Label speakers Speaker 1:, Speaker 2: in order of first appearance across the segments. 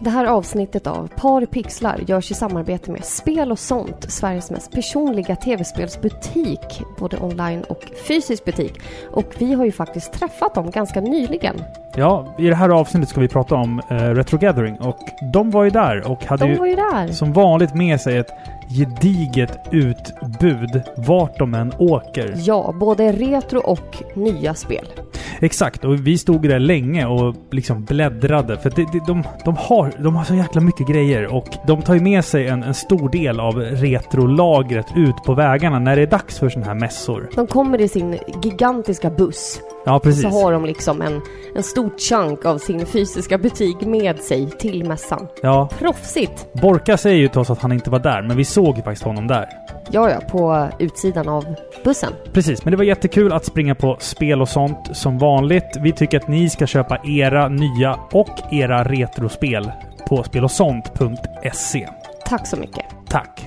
Speaker 1: Det här avsnittet av Par Pixlar görs i samarbete med Spel och sånt, Sveriges mest personliga tv-spelsbutik, både online och fysisk butik. Och vi har ju faktiskt träffat dem ganska nyligen.
Speaker 2: Ja, i det här avsnittet ska vi prata om eh, Retro Gathering och de var ju där och hade
Speaker 1: De
Speaker 2: ju
Speaker 1: var ju där.
Speaker 2: som vanligt med sig ett gediget utbud vart de än åker.
Speaker 1: Ja, både retro och nya spel.
Speaker 2: Exakt, och vi stod där länge och liksom bläddrade för det, det, de, de, har, de har så jäkla mycket grejer och de tar ju med sig en, en stor del av retrolagret ut på vägarna när det är dags för sådana här mässor.
Speaker 1: De kommer i sin gigantiska buss.
Speaker 2: Ja, precis.
Speaker 1: Så har de liksom en, en stor chunk av sin fysiska butik med sig till mässan.
Speaker 2: Ja,
Speaker 1: Proffsigt!
Speaker 2: Borka säger ju till oss att han inte var där, men vi såg ju faktiskt honom där.
Speaker 1: Ja, ja, på utsidan av bussen.
Speaker 2: Precis, men det var jättekul att springa på spel och sånt som vanligt. Vi tycker att ni ska köpa era nya och era retrospel på spelosont.se.
Speaker 1: Tack så mycket.
Speaker 2: Tack!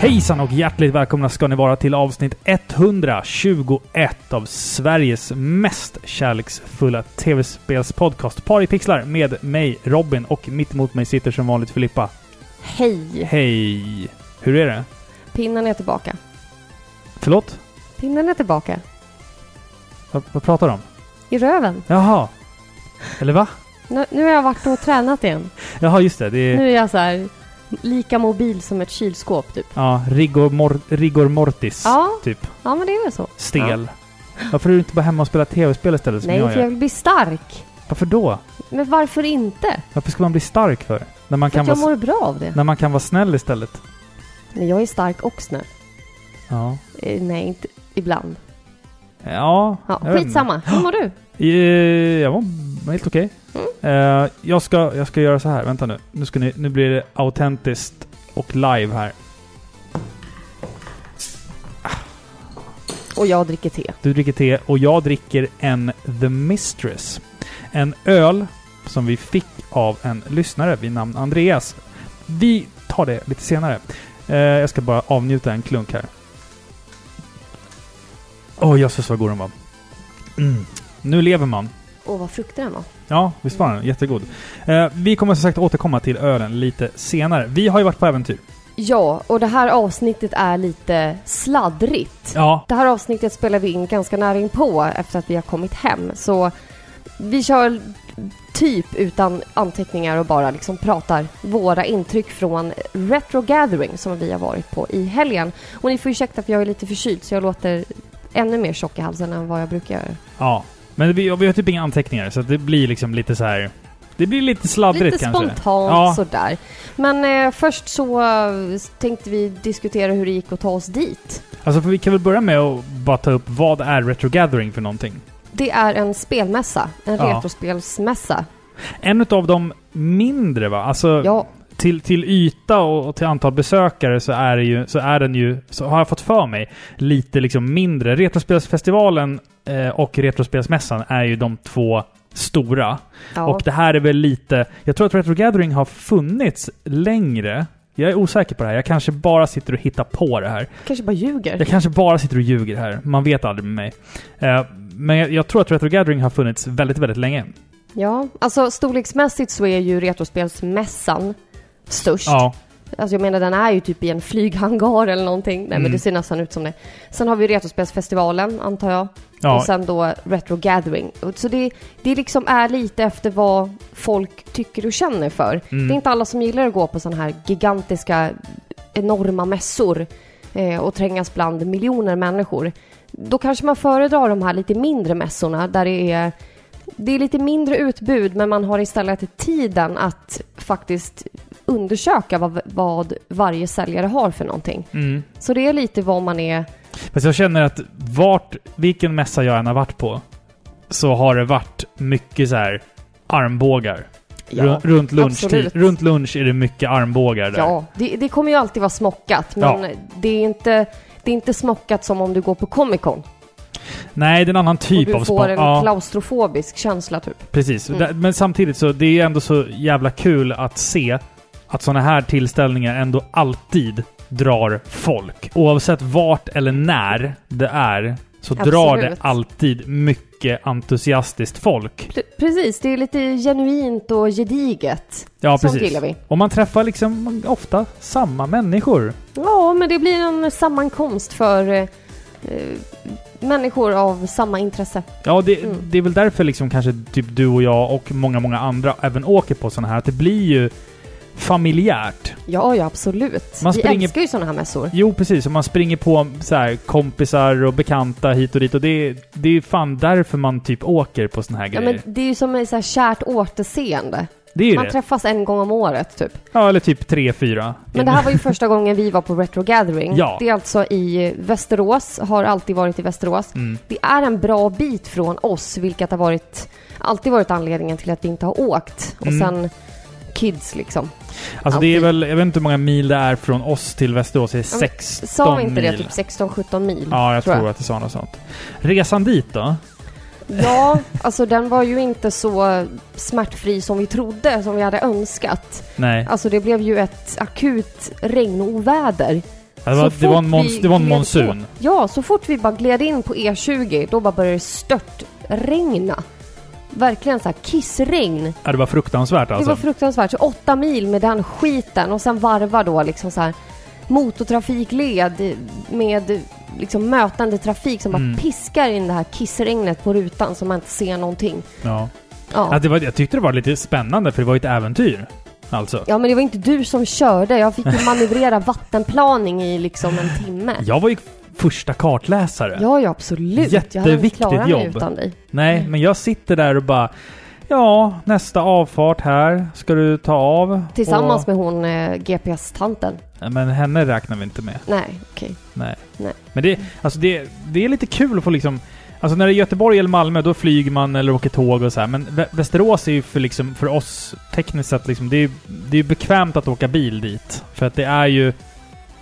Speaker 2: Hejsan och hjärtligt välkomna ska ni vara till avsnitt 121 av Sveriges mest kärleksfulla tv-spelspodcast Par i pixlar med mig Robin och mitt emot mig sitter som vanligt Filippa.
Speaker 1: Hej!
Speaker 2: Hej! Hur är det?
Speaker 1: Pinnen är tillbaka.
Speaker 2: Förlåt?
Speaker 1: Pinnen är tillbaka.
Speaker 2: Vad, vad pratar du om?
Speaker 1: I röven.
Speaker 2: Jaha. Eller va?
Speaker 1: Nu, nu har jag varit och tränat igen.
Speaker 2: Jaha, just det. Det är
Speaker 1: Nu är jag så här lika mobil som ett kylskåp typ.
Speaker 2: ja, rigor, mor, rigor mortis.
Speaker 1: Ja,
Speaker 2: Typ.
Speaker 1: ja men det är väl så.
Speaker 2: Stel. Varför är du inte bara hemma och spelar tv-spel istället som
Speaker 1: Nej,
Speaker 2: jag
Speaker 1: för
Speaker 2: gör?
Speaker 1: jag vill bli stark.
Speaker 2: Varför då?
Speaker 1: Men varför inte?
Speaker 2: Varför ska man bli stark för? När man,
Speaker 1: För
Speaker 2: kan
Speaker 1: att
Speaker 2: vara,
Speaker 1: jag mår
Speaker 2: s-
Speaker 1: bra av det.
Speaker 2: när man kan vara snäll istället.
Speaker 1: Men jag är stark och snäll.
Speaker 2: Ja.
Speaker 1: Eh, Nej, inte ibland.
Speaker 2: Ja,
Speaker 1: Ja,
Speaker 2: jag vet
Speaker 1: skitsamma. Hur mår du?
Speaker 2: inte. Eh, Jag mår helt okej.
Speaker 1: Mm.
Speaker 2: Eh, jag, ska, jag ska göra så här. Vänta nu. Nu, ska ni, nu blir det autentiskt och live här.
Speaker 1: Och jag dricker te.
Speaker 2: Du dricker te och jag dricker en The Mistress. En öl som vi fick av en lyssnare vid namn Andreas. Vi tar det lite senare. Eh, jag ska bara avnjuta en klunk här. Åh, oh, jösses vad god den var. Mm. Nu lever man.
Speaker 1: Och vad fruktig den var.
Speaker 2: Ja, visst var den jättegod. Eh, vi kommer som sagt återkomma till ölen lite senare. Vi har ju varit på äventyr.
Speaker 1: Ja, och det här avsnittet är lite sladdrigt.
Speaker 2: Ja,
Speaker 1: Det här avsnittet spelar vi in ganska nära inpå efter att vi har kommit hem. Så vi kör typ utan anteckningar och bara liksom pratar våra intryck från Retro Gathering som vi har varit på i helgen. Och ni får ursäkta för jag är lite förkyld så jag låter ännu mer tjock i halsen än vad jag brukar göra.
Speaker 2: ja. Men vi, vi har typ inga anteckningar, så att det blir liksom lite så här... Det blir lite sladdrigt
Speaker 1: Lite
Speaker 2: kanske.
Speaker 1: spontant
Speaker 2: Ja.
Speaker 1: sådär. Men eh, först så eh, tänkte vi diskutera hur det gick att ta oss dit.
Speaker 2: Alltså för vi kan väl börja med att bara ta upp vad är Retro Gathering för någonting?
Speaker 1: Det är en spelmässa, en
Speaker 2: Ja.
Speaker 1: retrospelsmässa.
Speaker 2: En utav de mindre va? Alltså
Speaker 1: Ja,
Speaker 2: till, till yta och, och till antal besökare så är, det ju, så är den ju, så har jag fått för mig, lite liksom mindre. Retrospelsfestivalen eh, och Retrospelsmässan är ju de två stora.
Speaker 1: ja.
Speaker 2: Och det här är väl lite... Jag tror att Retro Gathering har funnits längre. Jag är osäker på det här. Jag kanske bara sitter och hittar på det här.
Speaker 1: kanske bara ljuger.
Speaker 2: Jag kanske bara sitter och ljuger här. Man vet aldrig med mig. Eh, men jag, jag tror att Retro Gathering har funnits väldigt, väldigt länge.
Speaker 1: Ja, alltså storleksmässigt så är ju Retrospelsmässan störst.
Speaker 2: Ja.
Speaker 1: Alltså jag menar den är ju typ i en flyghangar eller någonting. Nej men
Speaker 2: Mm.
Speaker 1: det ser nästan ut som det. Sen har vi Retrospelsfestivalen antar jag.
Speaker 2: ja.
Speaker 1: Och sen då Retro Gathering. Och Så det, det liksom är lite efter vad folk tycker och känner för.
Speaker 2: Mm.
Speaker 1: Det är inte alla som gillar att gå på sådana här gigantiska, enorma mässor eh, och trängas bland miljoner människor. Då kanske man föredrar de här lite mindre mässorna där det är, det är lite mindre utbud men man har istället tiden att faktiskt undersöka vad, vad varje säljare har för någonting.
Speaker 2: Mm.
Speaker 1: Så det är lite vad man är
Speaker 2: Fast jag känner att vart, vilken mässa jag än har varit på, så har det varit mycket så här armbågar.
Speaker 1: Ja,
Speaker 2: Ru- runt, lunchtid,
Speaker 1: absolut.
Speaker 2: runt lunch är det mycket armbågar där.
Speaker 1: Ja, det, det kommer ju alltid vara smockat, men det, är inte, det är inte smockat som om du går på Comic Con.
Speaker 2: Nej, det är en annan typ
Speaker 1: och
Speaker 2: av
Speaker 1: du får
Speaker 2: spa.
Speaker 1: en
Speaker 2: Ja,
Speaker 1: klaustrofobisk känsla typ.
Speaker 2: precis.
Speaker 1: Mm.
Speaker 2: Där- Men samtidigt så det är ju ändå så jävla kul att se att sådana här tillställningar ändå alltid drar folk. Oavsett vart eller när det är så drar det
Speaker 1: Absolut.
Speaker 2: alltid mycket entusiastiskt folk.
Speaker 1: Pre- Precis, det är lite genuint och gediget.
Speaker 2: Ja,
Speaker 1: Sånt
Speaker 2: precis.
Speaker 1: gillar vi.
Speaker 2: Och man träffar liksom ofta samma människor.
Speaker 1: Ja, men det blir en sammankomst för eh, eh, människor av samma intresse.
Speaker 2: Ja, det,
Speaker 1: Mm.
Speaker 2: det är väl därför liksom kanske typ du och jag och många, många andra även åker på sådana här. Att det blir ju familjärt.
Speaker 1: Ja, ja absolut.
Speaker 2: Man
Speaker 1: vi
Speaker 2: springer-
Speaker 1: älskar ju sådana här mässor.
Speaker 2: Jo, precis. Och man springer på så här, kompisar och bekanta hit och dit. Och det, det är fan därför man typ åker på sådana här
Speaker 1: Ja,
Speaker 2: grejer.
Speaker 1: men det är ju som ett så här kärt återseende.
Speaker 2: det är ju
Speaker 1: Man
Speaker 2: det.
Speaker 1: träffas en gång om året typ.
Speaker 2: Ja, eller typ tre, fyra.
Speaker 1: Men det här var ju första gången vi var på Retro Gathering.
Speaker 2: Ja.
Speaker 1: Det är alltså i Västerås, har alltid varit i Västerås.
Speaker 2: Mm.
Speaker 1: Det är en bra bit från oss, vilket har varit, alltid varit anledningen till att vi inte har åkt. Och
Speaker 2: Mm.
Speaker 1: sen kids liksom.
Speaker 2: Alltså det är väl, jag vet inte hur många mil det är från oss till Västerås. Det är
Speaker 1: men
Speaker 2: 16
Speaker 1: Sa vi inte
Speaker 2: mil.
Speaker 1: det? Typ 16-17 mil?
Speaker 2: Ja, jag
Speaker 1: tror
Speaker 2: tror,
Speaker 1: jag.
Speaker 2: att det sa något sånt. Resan dit då?
Speaker 1: Ja, alltså den var ju inte så smärtfri som vi trodde, som vi hade önskat.
Speaker 2: Nej.
Speaker 1: Alltså det blev ju ett akut regnoväder. så
Speaker 2: Det var, det var
Speaker 1: fort
Speaker 2: en,
Speaker 1: vi
Speaker 2: mons, det var en
Speaker 1: gled på.
Speaker 2: monsun.
Speaker 1: Ja, så fort vi bara gled in på E20, då bara började det stört regna. Verkligen så här kissregn.
Speaker 2: Ja, det var fruktansvärt alltså.
Speaker 1: Det var fruktansvärt. Så åtta mil med den skiten och sen varva då liksom så här motortrafikled med liksom mötande trafik som bara
Speaker 2: Mm.
Speaker 1: piskar in det här kissregnet på rutan så man inte ser någonting.
Speaker 2: Ja.
Speaker 1: Ja.
Speaker 2: Att det var, jag tyckte det var lite spännande för det var ju ett äventyr. Alltså.
Speaker 1: ja, men det var inte du som körde. Jag fick ju manövrera vattenplaning i liksom en timme.
Speaker 2: Jag var ju första kartläsare.
Speaker 1: Ja, ja absolut. jag hade inte
Speaker 2: Jätteviktigt
Speaker 1: klarat mig
Speaker 2: jobb.
Speaker 1: utan dig.
Speaker 2: Nej,
Speaker 1: Mm.
Speaker 2: men jag sitter där och bara Ja, nästa avfart här ska du ta av.
Speaker 1: Tillsammans
Speaker 2: och,
Speaker 1: med hon eh, GPS-tanten.
Speaker 2: med... Men henne räknar vi inte med.
Speaker 1: Nej, okej.
Speaker 2: Nej.
Speaker 1: Nej.
Speaker 2: Men det, alltså det, det är lite kul att få liksom... Alltså när det är Göteborg eller Malmö, då flyger man eller åker tåg och så här. Men Vä- Västerås är ju för, liksom, för oss tekniskt sett liksom, det är ju det är bekvämt att åka bil dit. För att det är ju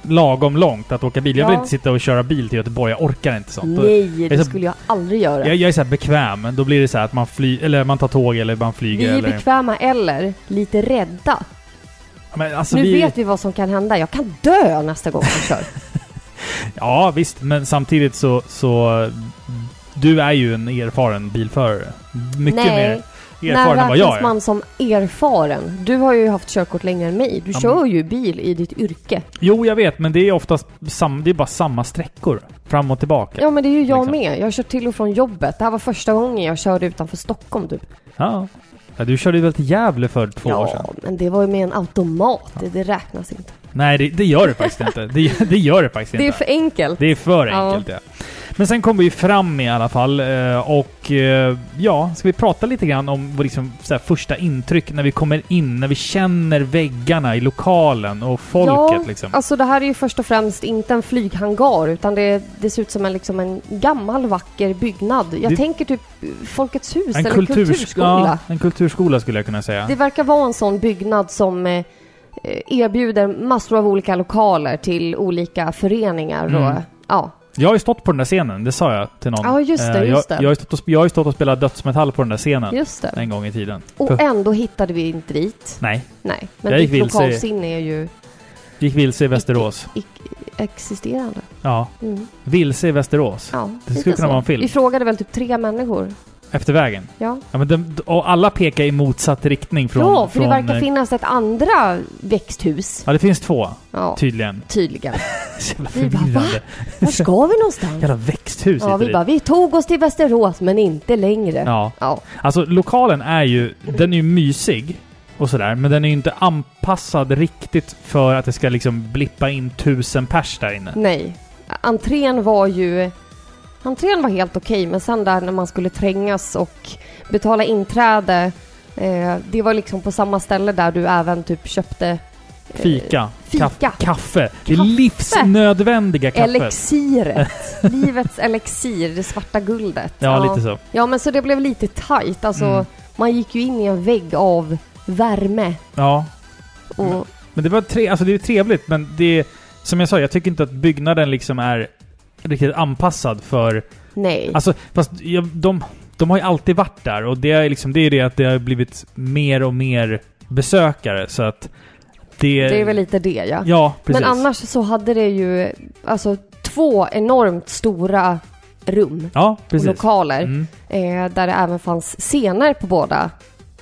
Speaker 2: lagom långt att åka bil. Jag vill
Speaker 1: Ja.
Speaker 2: inte sitta och köra bil till Göteborg, jag orkar inte sånt.
Speaker 1: Nej,
Speaker 2: är
Speaker 1: det
Speaker 2: så-
Speaker 1: skulle jag aldrig göra.
Speaker 2: Jag, jag är så här bekväm, då blir det så här att man, fly, eller man tar tåg eller man
Speaker 1: Vi
Speaker 2: flyger.
Speaker 1: är
Speaker 2: eller...
Speaker 1: bekväma eller lite rädda.
Speaker 2: Men alltså
Speaker 1: nu
Speaker 2: vi,
Speaker 1: vet vi vad som kan hända. Jag kan dö nästa gång jag kör.
Speaker 2: Ja, visst. Men samtidigt så... så du är ju en erfaren bilförare. Mycket
Speaker 1: Nej.
Speaker 2: mer erfaren än vad jag är.
Speaker 1: man som erfaren? Du har ju haft körkort längre än mig. Du
Speaker 2: Ja,
Speaker 1: kör ju bil i ditt yrke.
Speaker 2: Jo, jag vet. Men det är oftast sam, det är bara samma sträckor. Fram och tillbaka.
Speaker 1: Ja, men det är ju jag
Speaker 2: Liksom.
Speaker 1: med. Jag har kört till och från jobbet. Det här var första gången jag körde utanför Stockholm typ.
Speaker 2: Ja. ja du körde ju väl till Gävle för två år sedan?
Speaker 1: ja, men det var ju med en automat. Det, det räknas inte.
Speaker 2: Nej, det, det gör det faktiskt inte. Det, det gör det faktiskt
Speaker 1: Det är
Speaker 2: inte.
Speaker 1: för enkelt.
Speaker 2: Det är för
Speaker 1: Ja.
Speaker 2: enkelt ja. Men sen kom vi ju fram i alla fall eh, och eh, ja, ska vi prata lite grann om vår liksom, så här, första intryck när vi kommer in, när vi känner väggarna i lokalen och folket
Speaker 1: ja,
Speaker 2: liksom.
Speaker 1: alltså det här är ju först och främst inte en flyghangar utan det, det ser ut som en, liksom en gammal vacker byggnad. Jag
Speaker 2: Det-
Speaker 1: tänker typ eh, Folkets hus eller
Speaker 2: kulturs-
Speaker 1: kulturskola.
Speaker 2: Ja, en kulturskola skulle jag kunna säga.
Speaker 1: Det verkar vara en sån byggnad som eh, erbjuder massor av olika lokaler till olika föreningar och
Speaker 2: Mm.
Speaker 1: ja.
Speaker 2: Jag har ju stått på den där scenen, det sa jag till någon.
Speaker 1: Ja, just det,
Speaker 2: Eh,
Speaker 1: just
Speaker 2: jag,
Speaker 1: det.
Speaker 2: Jag, har ju stått och, sp- jag har ju stått och spelat dödsmetall på den där scenen
Speaker 1: Just det.
Speaker 2: en gång i tiden.
Speaker 1: Och
Speaker 2: För-
Speaker 1: ändå hittade vi inte dit.
Speaker 2: Nej,
Speaker 1: Nej, men
Speaker 2: Jag gick
Speaker 1: ditt
Speaker 2: vilse i-
Speaker 1: lokalsinne är ju
Speaker 2: gick vilse i Västerås.
Speaker 1: existerande.
Speaker 2: Ja,
Speaker 1: Mm.
Speaker 2: vilse i Västerås.
Speaker 1: Ja, lite
Speaker 2: skulle kunna
Speaker 1: så.
Speaker 2: vara en film.
Speaker 1: Vi frågade väl typ tre människor.
Speaker 2: Efter vägen.
Speaker 1: Ja,
Speaker 2: Ja, men de, och alla pekar i motsatt riktning från...
Speaker 1: ja för
Speaker 2: från,
Speaker 1: det verkar
Speaker 2: eh,
Speaker 1: finnas ett andra växthus.
Speaker 2: Ja, det finns två,
Speaker 1: Ja,
Speaker 2: tydligen.
Speaker 1: tydligen.
Speaker 2: Så jävla
Speaker 1: Vi bara,
Speaker 2: förvirrande.
Speaker 1: Var ska vi någonstans?
Speaker 2: Jävla växthus
Speaker 1: Ja,
Speaker 2: hit och
Speaker 1: vi
Speaker 2: dit.
Speaker 1: bara, vi tog oss till Västerås men inte längre.
Speaker 2: Ja,
Speaker 1: Ja,
Speaker 2: alltså lokalen är ju... Den är ju mysig och sådär, men den är ju inte anpassad riktigt för att det ska liksom blippa in tusen pers där inne.
Speaker 1: Nej. Entrén var ju... Entrén var helt okej, men sen där när man skulle trängas och betala inträde. Eh, det var liksom på samma ställe där du även typ köpte eh,
Speaker 2: Fika.
Speaker 1: fika.
Speaker 2: Kaff- kaffe. Det är
Speaker 1: Kaffe.
Speaker 2: livsnödvändiga kaffet.
Speaker 1: Elixiret. Livets elixir, det svarta guldet.
Speaker 2: Ja, lite så.
Speaker 1: ja, men så det blev lite tajt. Alltså,
Speaker 2: Mm.
Speaker 1: man gick ju in i en vägg av värme
Speaker 2: Ja.
Speaker 1: och...
Speaker 2: Men det var tre, alltså det är trevligt, men det... Som jag sa, jag tycker inte att byggnaden liksom är riktigt anpassad för...
Speaker 1: Nej.
Speaker 2: Alltså, fast jag, de, de har ju alltid varit där och det är liksom, det är det att det har blivit mer och mer besökare så att... Det...
Speaker 1: det är väl lite det, ja.
Speaker 2: Ja, precis.
Speaker 1: Men annars så hade det ju alltså två enormt stora rum
Speaker 2: Ja,
Speaker 1: och
Speaker 2: precis.
Speaker 1: lokaler
Speaker 2: Mm.
Speaker 1: eh, där det även fanns scener på båda,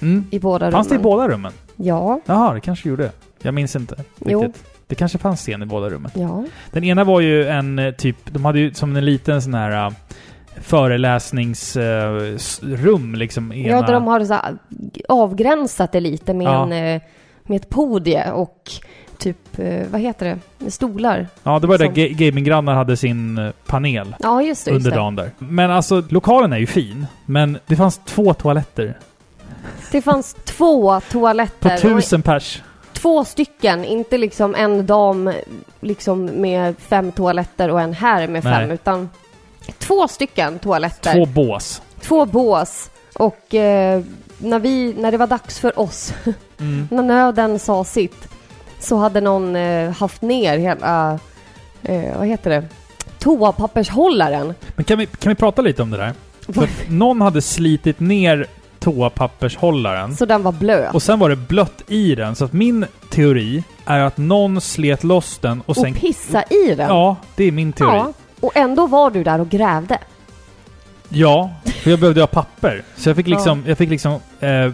Speaker 2: Mm.
Speaker 1: i båda
Speaker 2: Fanns det i
Speaker 1: rummen.
Speaker 2: båda rummen?
Speaker 1: Ja,
Speaker 2: Jaha, det kanske gjorde. Jag minns inte riktigt.
Speaker 1: Jo.
Speaker 2: Det kanske fanns scen i båda rummen.
Speaker 1: ja.
Speaker 2: Den ena var ju en eh, typ, de hade ju som en liten sån här eh, föreläsningsrum liksom. Ena.
Speaker 1: Ja, där de har så här, avgränsat det lite med,
Speaker 2: Ja.
Speaker 1: en, eh, med ett podie och typ, eh, vad heter det, stolar.
Speaker 2: ja, det var där
Speaker 1: som-
Speaker 2: ga- gaminggrannar hade sin eh, panel
Speaker 1: Ja, just det. Just
Speaker 2: under
Speaker 1: det.
Speaker 2: dagen där. Men alltså, lokalen är ju fin. Men det fanns två toaletter.
Speaker 1: det fanns två
Speaker 2: På
Speaker 1: toaletter. och
Speaker 2: tusen pers.
Speaker 1: Två stycken, inte liksom en dam liksom med fem toaletter och en herr med fem,
Speaker 2: Nej.
Speaker 1: utan två stycken toaletter.
Speaker 2: Två bås.
Speaker 1: Två bås. Och eh, när, vi, när det var dags för oss,
Speaker 2: Mm.
Speaker 1: när nöden sa sitt, så hade någon eh, haft ner hela, eh, vad heter det, toapappershållaren.
Speaker 2: Men kan vi, kan vi prata lite om det där? För att någon hade slitit ner toapappershållaren.
Speaker 1: Så den var blöt.
Speaker 2: Och sen var det blött i den, så att min teori är att någon slet loss den och
Speaker 1: Och,
Speaker 2: sen...
Speaker 1: pissa i den.
Speaker 2: Ja, det är min teori.
Speaker 1: Ja, Och ändå var du där och grävde.
Speaker 2: Ja, för jag behövde ha papper. Så jag fick liksom, jag fick liksom eh,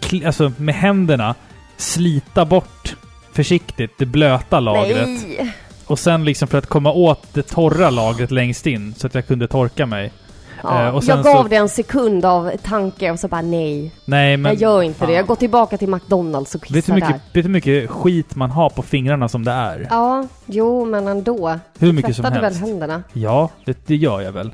Speaker 2: kli, alltså med händerna slita bort försiktigt det blöta lagret.
Speaker 1: Nej!
Speaker 2: Och sen liksom för att komma åt det torra lagret längst in så att jag kunde torka mig.
Speaker 1: Ja,
Speaker 2: Eh, och sen
Speaker 1: jag gav
Speaker 2: så-
Speaker 1: det en sekund av tanke och så bara nej.
Speaker 2: Nej men...
Speaker 1: jag gör inte det.
Speaker 2: fan.
Speaker 1: Jag går tillbaka till McDonalds och
Speaker 2: Vet du
Speaker 1: kissar
Speaker 2: hur mycket,
Speaker 1: där.
Speaker 2: vet du hur mycket skit man har på fingrarna som det är?
Speaker 1: Ja, jo men ändå.
Speaker 2: hur mycket som
Speaker 1: Tvättade väl
Speaker 2: helst.
Speaker 1: händerna.
Speaker 2: Ja, det, det gör jag väl.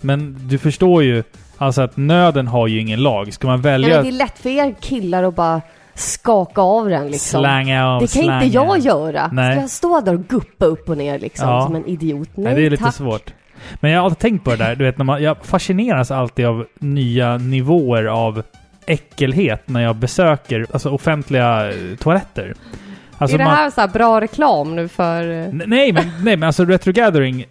Speaker 2: Men du förstår ju alltså att nöden har ju ingen lag. Ska man
Speaker 1: Ja,
Speaker 2: välja
Speaker 1: men
Speaker 2: att
Speaker 1: det är lätt för er killar att bara skaka av den liksom.
Speaker 2: slänga av
Speaker 1: det kan
Speaker 2: slänga.
Speaker 1: inte jag göra.
Speaker 2: Nej.
Speaker 1: Ska jag stå där och guppa upp och ner liksom
Speaker 2: Ja.
Speaker 1: som en idiot? Nej,
Speaker 2: Nej, det är lite
Speaker 1: tack.
Speaker 2: svårt. Men jag har alltid tänkt på det där, du vet, när man, jag fascineras alltid av nya nivåer av äckelhet när jag besöker alltså, offentliga eh, toaletter. Alltså,
Speaker 1: är det
Speaker 2: man- Mm.
Speaker 1: här så här bra reklam nu för... eh,
Speaker 2: N- Nej, men, nej, men alltså Retro Gathering,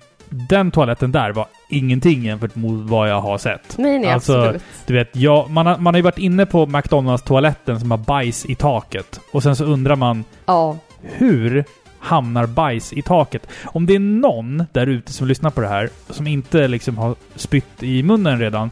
Speaker 2: den toaletten där var ingenting jämfört mot vad jag har sett.
Speaker 1: Nej, nej,
Speaker 2: Alltså,
Speaker 1: absolut.
Speaker 2: Du vet, jag, man, har, man har ju varit inne på McDonalds-toaletten som har bajs i taket. Och sen så undrar man
Speaker 1: Ja.
Speaker 2: hur hamnar bajs i taket? Om det är någon där ute som lyssnar på det här som inte liksom har spytt i munnen redan.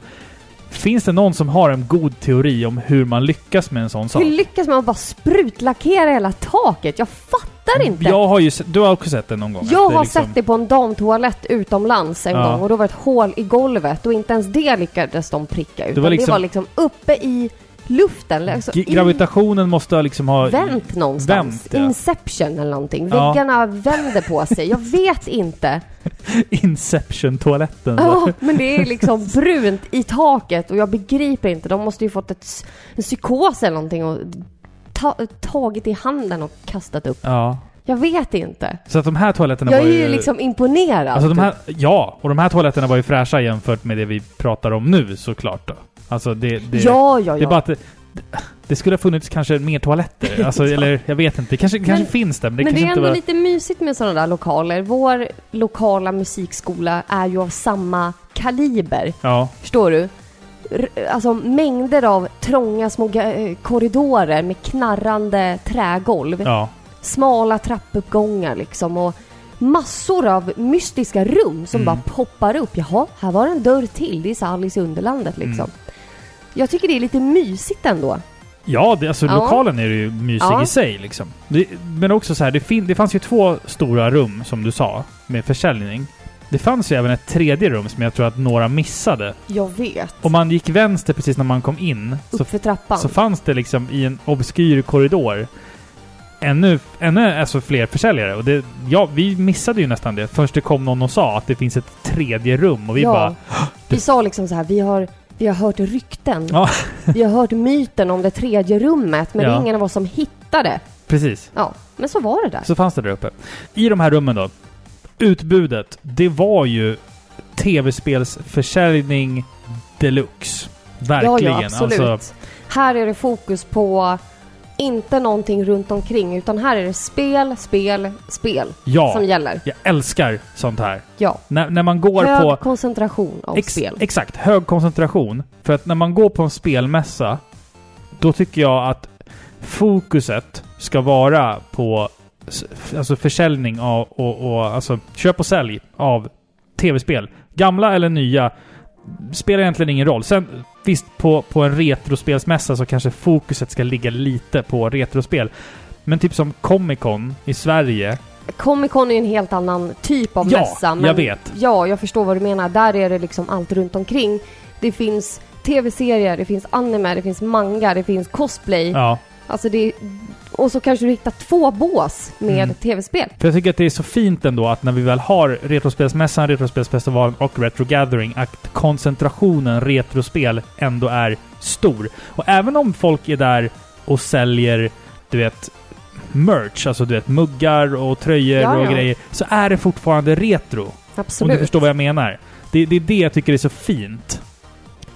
Speaker 2: Finns det någon som har en god teori om hur man lyckas med en sån sak?
Speaker 1: Hur lyckas man bara sprutlackera hela taket? Jag fattar inte.
Speaker 2: Jag har ju se- du har också sett det någon gång?
Speaker 1: Jag
Speaker 2: att det
Speaker 1: har
Speaker 2: liksom-
Speaker 1: sett det på en damtoalett utomlands en
Speaker 2: Ja.
Speaker 1: gång och då var det ett hål i golvet och inte ens det lyckades de pricka ut. Det
Speaker 2: var
Speaker 1: var liksom,
Speaker 2: liksom-
Speaker 1: det var liksom uppe i luften. Alltså
Speaker 2: G- Gravitationen måste ha liksom ha...
Speaker 1: i, vänt någonstans.
Speaker 2: vänt, ja.
Speaker 1: Inception eller någonting.
Speaker 2: Ja.
Speaker 1: Väggarna vänder på sig. Jag vet inte.
Speaker 2: Inception-toaletten.
Speaker 1: Ja, men det är liksom brunt i taket och jag begriper inte. De måste ju fått ett, s- en psykos eller någonting och ta, tagit i handen och kastat upp.
Speaker 2: Ja.
Speaker 1: Jag vet inte.
Speaker 2: Så att de här toaletterna
Speaker 1: Jag är
Speaker 2: var ju...
Speaker 1: ju liksom imponerad.
Speaker 2: Alltså de här, ja, och de här toaletterna var ju fräscha jämfört med det vi pratar om nu såklart. Då. Alltså det... det
Speaker 1: ja, ja, ja.
Speaker 2: Det är bara att det, det skulle ha funnits kanske mer toaletter. Alltså, eller jag vet inte. Det kanske, kanske finns det, men det
Speaker 1: men det
Speaker 2: kanske
Speaker 1: är
Speaker 2: inte
Speaker 1: ändå
Speaker 2: var...
Speaker 1: lite mysigt med sådana där lokaler. Vår lokala musikskola är ju av samma kaliber,
Speaker 2: Ja,
Speaker 1: förstår du? R- alltså mängder av trånga små ga- eh, korridorer med knarrande trägolv,
Speaker 2: ja.
Speaker 1: smala trappuppgångar liksom och massor av mystiska rum som
Speaker 2: Mm.
Speaker 1: bara poppar upp. Jaha, här var en dörr till. Det är så Alice i Underlandet liksom.
Speaker 2: Mm.
Speaker 1: Jag tycker det är lite mysigt ändå.
Speaker 2: Ja, det, alltså
Speaker 1: Ja.
Speaker 2: lokalen är ju mysig
Speaker 1: Ja.
Speaker 2: i sig liksom. Det, men också så här, det, fin, det fanns ju två stora rum som du sa, med försäljning. Det fanns ju även ett tredje rum som jag tror att några missade.
Speaker 1: Jag vet.
Speaker 2: Om man gick vänster precis när man kom in så,
Speaker 1: Upp för trappan.
Speaker 2: så fanns det liksom i en obskyr korridor ännu, ännu alltså fler försäljare. Och det, ja, vi missade ju nästan det först det kom någon och sa att det finns ett tredje rum och vi bara
Speaker 1: Vi sa liksom så här, vi har, vi har hört rykten.
Speaker 2: Ja.
Speaker 1: vi har hört myten om det tredje rummet, men det
Speaker 2: Ja.
Speaker 1: är ingen av oss som hittade.
Speaker 2: Precis.
Speaker 1: Ja, men så var det där.
Speaker 2: Så fanns det där uppe. I de här rummen då. Utbudet, det var ju tv-spelsförsäljning deluxe. Verkligen. Alltså,
Speaker 1: ja, ja, absolut. Här är det fokus på Inte någonting runt omkring utan här är det spel, spel, spel
Speaker 2: Ja,
Speaker 1: som gäller.
Speaker 2: jag älskar sånt här.
Speaker 1: Ja.
Speaker 2: När, när man går
Speaker 1: Hög
Speaker 2: på...
Speaker 1: koncentration av
Speaker 2: Ex-
Speaker 1: spel.
Speaker 2: Exakt, hög koncentration. För att när man går på en spelmässa, då tycker jag att fokuset ska vara på s- f- alltså försäljning av, och, och alltså köp och sälj av tv-spel. Gamla eller nya spelar egentligen ingen roll. Sen visst, på, på en retrospelsmässa så kanske fokuset ska ligga lite på retrospel. Men typ som Comic Con i Sverige.
Speaker 1: Comic Con är ju en helt annan typ av
Speaker 2: ja,
Speaker 1: mässa.
Speaker 2: jag vet.
Speaker 1: Ja, jag förstår vad du menar. Där är det liksom allt runt omkring. Det finns tv-serier, det finns anime, det finns manga, det finns cosplay.
Speaker 2: Ja.
Speaker 1: Alltså det, och så kanske du hittar två bås med
Speaker 2: Mm.
Speaker 1: tv-spel.
Speaker 2: För jag tycker att det är så fint ändå att när vi väl har Retrospelsmässan, Retrospelsfestivalen och Retro Gathering att koncentrationen retrospel ändå är stor. Och även om folk är där och säljer, du vet, merch, alltså du vet muggar och tröjor
Speaker 1: Ja,
Speaker 2: och
Speaker 1: ja.
Speaker 2: grejer, så är det fortfarande retro. Om du
Speaker 1: Absolut.
Speaker 2: förstår vad jag menar. Det, det är det jag tycker är så fint.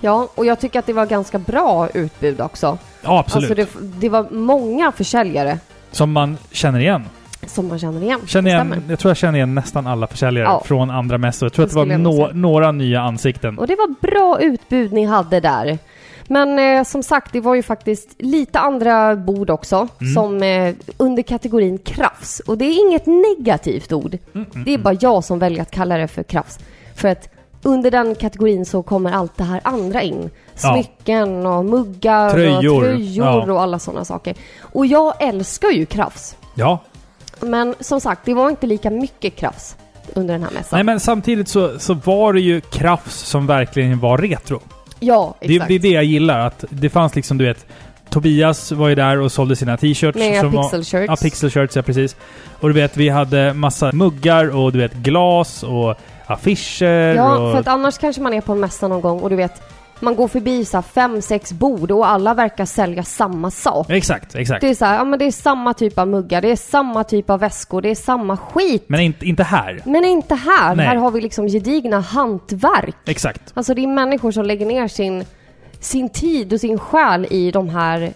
Speaker 1: Ja, och jag tycker att det var ganska bra utbud också.
Speaker 2: Ja, absolut.
Speaker 1: Alltså det, det var många försäljare
Speaker 2: Som man känner igen.
Speaker 1: som man känner igen.
Speaker 2: Känner igen,
Speaker 1: Stämmer.
Speaker 2: jag tror jag känner igen nästan alla försäljare
Speaker 1: Ja.
Speaker 2: från andra mässor. Jag
Speaker 1: Det
Speaker 2: tror att det var
Speaker 1: skulle jag nog
Speaker 2: nå-
Speaker 1: säga.
Speaker 2: några nya ansikten.
Speaker 1: Och det var bra utbud ni hade där. Men eh, som sagt, det var ju faktiskt lite andra bord också
Speaker 2: Mm.
Speaker 1: som eh, under kategorin krafs. Och det är inget negativt
Speaker 2: Mm,
Speaker 1: ord. det är bara jag som väljer att kalla det för krafs. För att under den kategorin så kommer allt det här andra in.
Speaker 2: Ja.
Speaker 1: Smycken och muggar
Speaker 2: Tröjor.
Speaker 1: och tröjor
Speaker 2: Ja.
Speaker 1: och alla sådana saker. Och jag älskar ju krafs.
Speaker 2: Ja,
Speaker 1: Men som sagt, det var inte lika mycket krafs under den här mässan.
Speaker 2: Nej men samtidigt så, så var det ju Krafs som verkligen var retro.
Speaker 1: ja,
Speaker 2: Det,
Speaker 1: exakt.
Speaker 2: det är det jag gillar, att det fanns liksom du vet, Tobias var ju där och sålde sina t-shirts.
Speaker 1: Med
Speaker 2: som var-
Speaker 1: pixelshirts.
Speaker 2: Ja, pixelshirts ja precis. Och du vet, vi hade massa muggar och du vet glas och affischer
Speaker 1: Ja,
Speaker 2: och...
Speaker 1: för att annars kanske man är på en mässa någon gång och du vet, man går förbi så här fem, sex bord och alla verkar sälja samma sak.
Speaker 2: Exakt, exakt.
Speaker 1: Det är så här, ja men det är samma typ av muggar, det är samma typ av väskor, det är samma skit.
Speaker 2: Men inte, inte här.
Speaker 1: Men inte här.
Speaker 2: Nej.
Speaker 1: Här har vi liksom gedigna hantverk.
Speaker 2: Exakt.
Speaker 1: Alltså det är människor som lägger ner sin, sin tid och sin själ i de här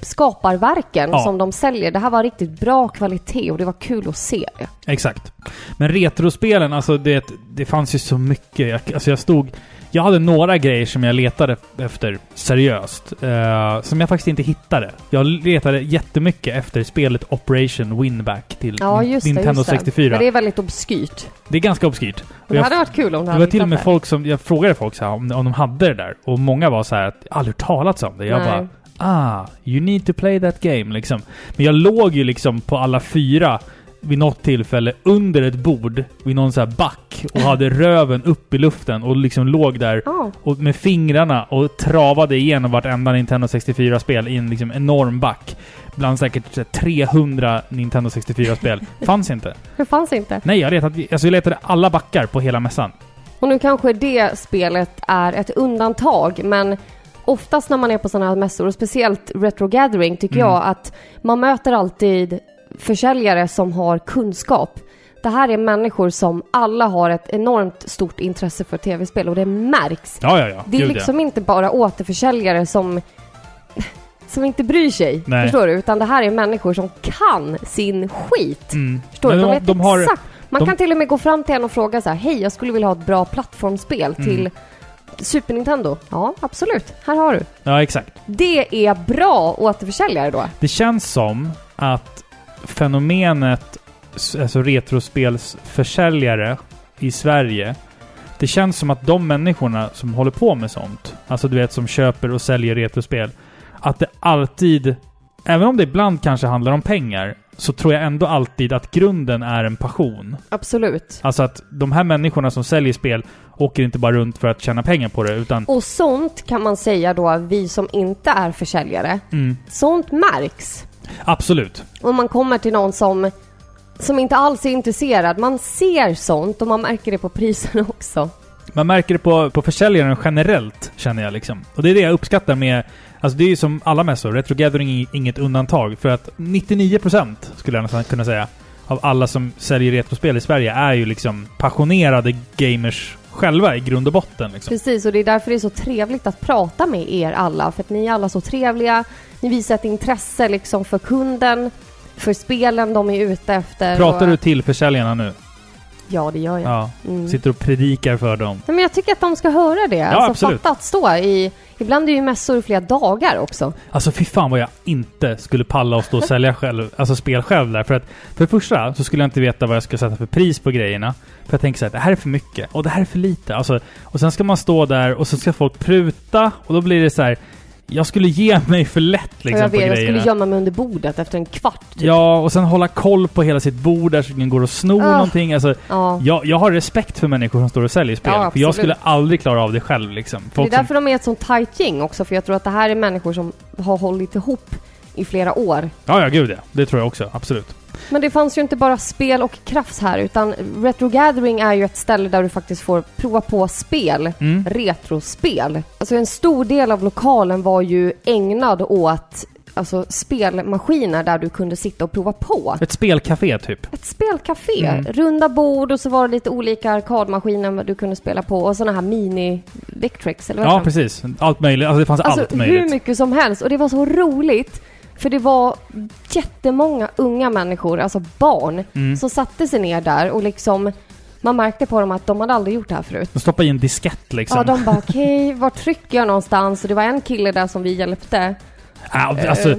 Speaker 1: skaparverken
Speaker 2: Ja.
Speaker 1: som de säljer. Det här var riktigt bra kvalitet och det var kul att se det.
Speaker 2: Exakt. Men retrospelen, alltså det, det fanns ju så mycket. Jag, alltså jag stod... Jag hade några grejer som jag letade efter seriöst. eh, som jag faktiskt inte hittade. Jag letade jättemycket efter spelet Operation Winback till
Speaker 1: Ja, just det.
Speaker 2: Nintendo
Speaker 1: just det.
Speaker 2: 64.
Speaker 1: Men
Speaker 2: Det
Speaker 1: det
Speaker 2: är,
Speaker 1: är väldigt obskyrt.
Speaker 2: ganska obskyrt. Och
Speaker 1: Men det
Speaker 2: jag,
Speaker 1: hade varit kul om du
Speaker 2: det
Speaker 1: hade
Speaker 2: var till och
Speaker 1: hittat
Speaker 2: med
Speaker 1: det.
Speaker 2: folk som... Jag frågade folk så här, om, om de hade det där. Och många var så här att jag har aldrig hört talats om det. Jag
Speaker 1: Nej.
Speaker 2: bara Ah, you need to play that game liksom. Men jag låg ju liksom på alla fyra vid något tillfälle under ett bord vid någon så här back och hade röven upp i luften och liksom låg där
Speaker 1: Ja.
Speaker 2: och med fingrarna och travade igenom vartenda Nintendo 64-spel i en liksom enorm back. Bland säkert så här 300 Nintendo 64-spel. Fanns inte.
Speaker 1: Det fanns inte.
Speaker 2: Nej, jag letade, alltså jag letade alla backar på hela mässan.
Speaker 1: Och nu kanske det spelet är ett undantag, men oftast när man är på sådana här mässor, och speciellt Retro Gathering, tycker
Speaker 2: Mm.
Speaker 1: jag att man möter alltid försäljare som har kunskap. Det här är människor som alla har ett enormt stort intresse för tv-spel och det märks.
Speaker 2: Ja, ja, ja.
Speaker 1: Det är
Speaker 2: Gud, ja.
Speaker 1: liksom inte bara återförsäljare som, som inte bryr sig,
Speaker 2: Nej.
Speaker 1: förstår du? Utan det här är människor som kan sin skit.
Speaker 2: Mm.
Speaker 1: Förstår du?
Speaker 2: Men
Speaker 1: De,
Speaker 2: de,
Speaker 1: vet
Speaker 2: de har...
Speaker 1: exakt. Man
Speaker 2: de-
Speaker 1: kan till och med gå fram till en och fråga så här, hej jag skulle vilja ha ett bra plattformsspel
Speaker 2: Mm.
Speaker 1: till Super Nintendo. Ja, absolut. Här har du.
Speaker 2: Ja, exakt.
Speaker 1: Det är bra återförsäljare då.
Speaker 2: Det känns som att fenomenet, s- alltså retrospelsförsäljare i Sverige, det känns som att de människorna som håller på med sånt, alltså du vet som köper och säljer retrospel, att det alltid, även om det ibland kanske handlar om pengar, så tror jag ändå alltid att grunden är en passion.
Speaker 1: Absolut.
Speaker 2: Alltså att de här människorna som säljer spel åker inte bara runt för att tjäna pengar på det, utan...
Speaker 1: Och sånt kan man säga då, vi som inte är försäljare.
Speaker 2: Mm,
Speaker 1: Sånt märks.
Speaker 2: absolut.
Speaker 1: Om man kommer till någon som, som inte alls är intresserad. Man ser sånt och man märker det på priserna också.
Speaker 2: Man märker det på, på försäljaren generellt, känner jag liksom. Och det är det jag uppskattar med... Alltså det är ju som alla mässor, Retro Gathering är inget undantag. För att 99% skulle jag nästan kunna säga, av alla som säljer retrospel i Sverige är ju liksom passionerade gamers själva i grund och botten. Liksom.
Speaker 1: Precis, och det är därför det är så trevligt att prata med er alla. För att ni är alla så trevliga. Ni visar ett intresse liksom för kunden, för spelen de är ute efter.
Speaker 2: Pratar
Speaker 1: och,
Speaker 2: du till försäljarna nu?
Speaker 1: Ja, det gör jag.
Speaker 2: Ja.
Speaker 1: Mm.
Speaker 2: Sitter och predikar för dem.
Speaker 1: Nej, men jag tycker att de ska höra det. alltså,
Speaker 2: absolut.
Speaker 1: Fatta att stå i... Ibland är ju mässor i flera dagar också.
Speaker 2: Alltså fy fan vad jag inte skulle palla att stå och sälja själv, alltså spel själv där. För att för det första så skulle jag inte veta vad jag ska sätta för pris på grejerna. För jag tänker så här, det här är för mycket och det här är för lite. Alltså, och sen ska man stå där och så ska folk pruta och då blir det så här. Jag skulle ge mig för lätt
Speaker 1: och
Speaker 2: liksom
Speaker 1: jag,
Speaker 2: på
Speaker 1: vet, jag skulle
Speaker 2: grejerna.
Speaker 1: gömma mig under bordet efter en kvart. typ.
Speaker 2: Ja, och sen hålla koll på hela sitt bord där så ingen går och snor
Speaker 1: Ah.
Speaker 2: någonting. Alltså,
Speaker 1: Ja.
Speaker 2: jag, jag har respekt för människor som står och säljer spel.
Speaker 1: Ja,
Speaker 2: för jag
Speaker 1: absolut.
Speaker 2: skulle aldrig klara av det själv liksom.
Speaker 1: Det är
Speaker 2: som-
Speaker 1: därför de är ett sånt tight gäng också, för jag tror att det här är människor som har hållit ihop i flera år.
Speaker 2: Ja, ja, gud ja. Det tror jag också. Absolut.
Speaker 1: Men det fanns ju inte bara spel och krafts här, utan Retro Gathering är ju ett ställe där du faktiskt får prova på spel.
Speaker 2: Mm.
Speaker 1: Retrospel. Alltså en stor del av lokalen var ju ägnad åt alltså, spelmaskiner där du kunde sitta och prova på.
Speaker 2: Ett spelcafé typ.
Speaker 1: Ett spelcafé.
Speaker 2: Mm.
Speaker 1: Runda bord och så var det lite olika arkadmaskiner du kunde spela på och sådana här mini Victrix eller vad
Speaker 2: Ja,
Speaker 1: heter de?
Speaker 2: precis. Allt möjligt. Alltså det fanns allt
Speaker 1: Alltså hur
Speaker 2: möjligt.
Speaker 1: mycket som helst och det var så roligt för det var jättemånga unga människor, alltså barn,
Speaker 2: Mm.
Speaker 1: som satte sig ner där och liksom man märkte på dem att de hade aldrig gjort det här förut.
Speaker 2: De stoppade i en diskett liksom.
Speaker 1: Ja, de bara okej, var trycker jag någonstans? Och det var en kille där som vi hjälpte.
Speaker 2: Ah, alltså,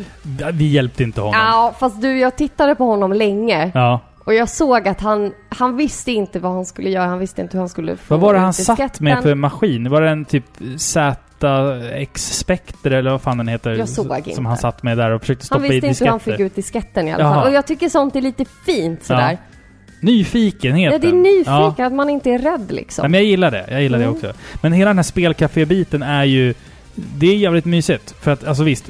Speaker 2: vi hjälpte inte honom.
Speaker 1: Eh. Ja, fast du, jag tittade på honom länge
Speaker 2: Ja.
Speaker 1: och jag såg att han, han visste inte vad han skulle göra. Han visste inte hur han skulle få
Speaker 2: Vad var det han
Speaker 1: ut
Speaker 2: satt
Speaker 1: disketten.
Speaker 2: med för maskin? Var det en typ ZX Spectre eller vad fan den heter?
Speaker 1: Jag såg inte.
Speaker 2: Som han satt med där och försökte
Speaker 1: Han
Speaker 2: stoppa i
Speaker 1: visste inte hur han fick
Speaker 2: disketter.
Speaker 1: ut disketten i alla
Speaker 2: Jaha.
Speaker 1: fall. Och jag tycker sånt är lite fint sådär.
Speaker 2: Nyfikenheten.
Speaker 1: Ja, det är
Speaker 2: Ja.
Speaker 1: nyfiket, att man inte är rädd liksom.
Speaker 2: Nej, men jag gillar det. Jag gillar
Speaker 1: Mm.
Speaker 2: det också. Men hela den här spelcafé-biten är ju... Det är jävligt mysigt. För att, alltså visst.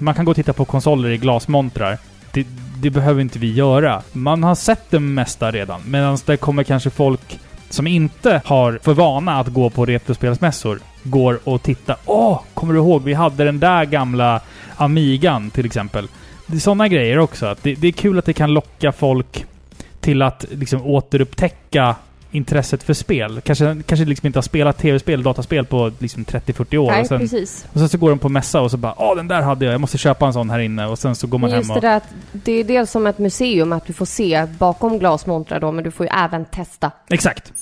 Speaker 2: Man kan gå och titta på konsoler i glasmontrar. Det, det behöver inte vi göra. Man har sett det mesta redan. Medan det kommer kanske folk som inte har för vana att gå på retrospelsmässor går och tittar. Åh! Kommer du ihåg? Vi hade den där gamla Amigan till exempel. Det är sådana grejer också. Att det, det är kul att det kan locka folk till att liksom återupptäcka intresset för spel. Kanske, kanske liksom inte har spelat tv-spel, dataspel på liksom 30-40 år.
Speaker 1: Nej,
Speaker 2: och, sen,
Speaker 1: precis.
Speaker 2: och sen så går de på mässa och så bara Åh, den där hade jag. Jag måste köpa en sån här inne. Och sen så går man
Speaker 1: Men just
Speaker 2: hem
Speaker 1: det
Speaker 2: och...
Speaker 1: där att det är dels som ett museum att du får se bakom glasmontrar då, men du får ju även testa.
Speaker 2: Exakt.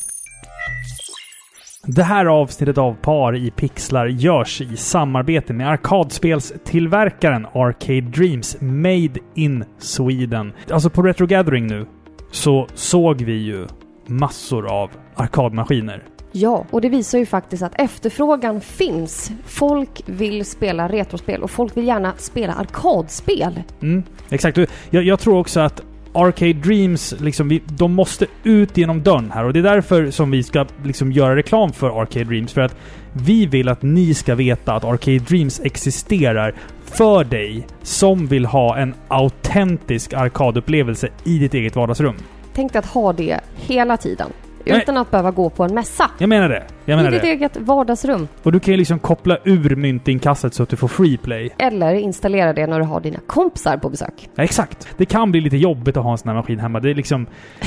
Speaker 2: Det här avsnittet av Par i pixlar görs i samarbete med arkadspelstillverkaren Arcade Dreams Made in Sweden. Alltså på Retro Gathering nu så såg vi ju massor av arkadmaskiner.
Speaker 1: Ja, och det visar ju faktiskt att efterfrågan finns. Folk vill spela retrospel och folk vill gärna spela arkadspel.
Speaker 2: Mm, exakt. Och Jag, jag tror också att Arcade Dreams, liksom, vi, de måste ut genom dörren här. Och det är därför som vi ska liksom, göra reklam för Arcade Dreams. För att vi vill att ni ska veta att Arcade Dreams existerar för dig som vill ha en autentisk arkadupplevelse i ditt eget vardagsrum.
Speaker 1: Tänk dig att ha det hela tiden.
Speaker 2: Nej.
Speaker 1: Utan att behöva gå på en mässa.
Speaker 2: Jag menar det. Jag menar
Speaker 1: I ditt
Speaker 2: Mm, det.
Speaker 1: eget vardagsrum.
Speaker 2: Och du kan ju liksom koppla ur myntinkastet så att du får free play.
Speaker 1: Eller installera det när du har dina kompisar på besök.
Speaker 2: Ja, exakt. Det kan bli lite jobbigt att ha en sån här maskin hemma. Det är liksom...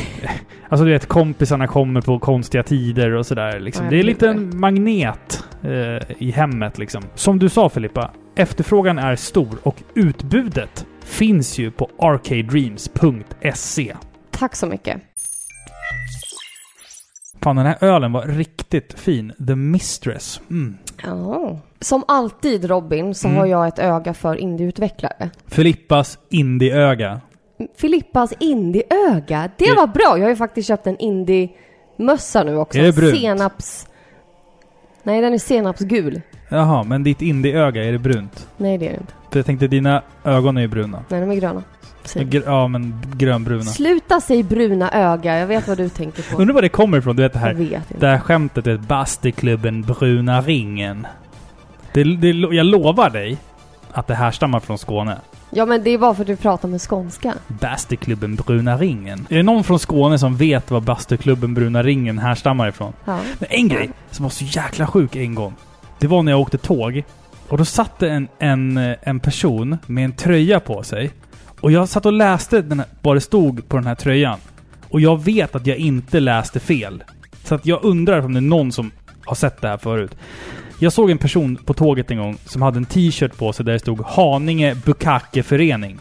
Speaker 2: Alltså du vet, kompisarna kommer på konstiga tider och sådär. Liksom.
Speaker 1: Ja, jag
Speaker 2: Det
Speaker 1: begriper.
Speaker 2: är lite en magnet eh, i hemmet liksom. Som du sa Filippa, efterfrågan är stor och utbudet finns ju på arcadedreams.se.
Speaker 1: Tack så mycket.
Speaker 2: Fan, den här ölen var riktigt fin. The Mistress. Mm.
Speaker 1: Ja. Som alltid Robin så
Speaker 2: Mm.
Speaker 1: har jag ett öga för indieutvecklare.
Speaker 2: Filippas indieöga.
Speaker 1: Filippas indieöga. Det
Speaker 2: Är-
Speaker 1: var bra. Jag har ju faktiskt köpt en indiemössa nu också.
Speaker 2: Är det brunt?
Speaker 1: Senaps... Nej, den är senapsgul.
Speaker 2: Jaha, men ditt indieöga, är det brunt?
Speaker 1: Nej, det är det inte.
Speaker 2: För jag tänkte, dina ögon är ju bruna.
Speaker 1: Nej, de är gröna. Säg.
Speaker 2: Gr- ja, men grönbruna.
Speaker 1: Sluta säg bruna öga. Jag vet vad du tänker på.
Speaker 2: Undrar var det kommer ifrån, du vet det
Speaker 1: Jag
Speaker 2: här.
Speaker 1: vet inte.
Speaker 2: Det här skämtet, du vet, bastuklubben Bruna Ringen. Det, det, jag lovar dig att det här stammar från Skåne.
Speaker 1: Ja, men det är bara för att du pratar med skånska.
Speaker 2: Bastuklubben Bruna Ringen. Är det någon från Skåne som vet vad bastuklubben Bruna Ringen härstammar ifrån?
Speaker 1: Ja.
Speaker 2: Men en grej som var så jäkla sjuk en gång. Det var när jag eh, åkte tåg. Och då satt det en, en, en person med en tröja på sig. Och jag satt och läste den här, vad det stod på den här tröjan. Och jag vet att jag inte läste fel. Så att jag undrar om det är någon som har sett det här förut. Jag såg en person på tåget en gång som hade en t-shirt på sig där det stod Haninge Bukakeförening.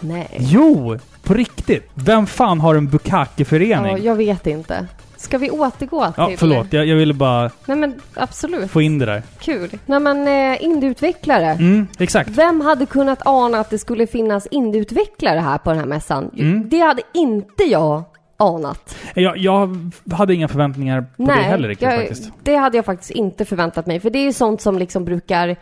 Speaker 1: Nej.
Speaker 2: Jo! På riktigt! Vem fan har en bukakeförening?
Speaker 1: Ja,
Speaker 2: Ja,
Speaker 1: jag vet inte. Ska vi återgå till...
Speaker 2: förlåt. Jag, jag ville bara
Speaker 1: Nej men absolut,
Speaker 2: få in det där.
Speaker 1: kul. Nej men eh, indieutvecklare.
Speaker 2: Mm, exakt.
Speaker 1: Vem hade kunnat ana att det skulle finnas indieutvecklare här på den här mässan?
Speaker 2: Mm.
Speaker 1: Det hade inte jag anat.
Speaker 2: Jag, jag hade inga förväntningar på det heller riktigt
Speaker 1: jag,
Speaker 2: faktiskt.
Speaker 1: det hade jag faktiskt inte förväntat mig. För det är ju sånt som liksom brukar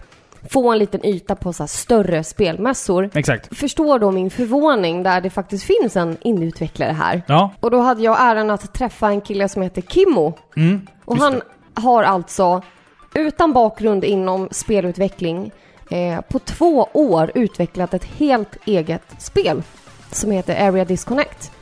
Speaker 1: få en liten yta på så här större spelmässor.
Speaker 2: Exakt.
Speaker 1: Förstår då min förvåning där det faktiskt finns en indieutvecklare här.
Speaker 2: Ja.
Speaker 1: Och då hade jag äran att träffa en kille som heter Kimmo.
Speaker 2: Mm,
Speaker 1: Och
Speaker 2: just
Speaker 1: han
Speaker 2: det.
Speaker 1: har alltså, utan bakgrund inom spelutveckling, eh, på två år utvecklat ett helt eget spel som heter Area Disconnect.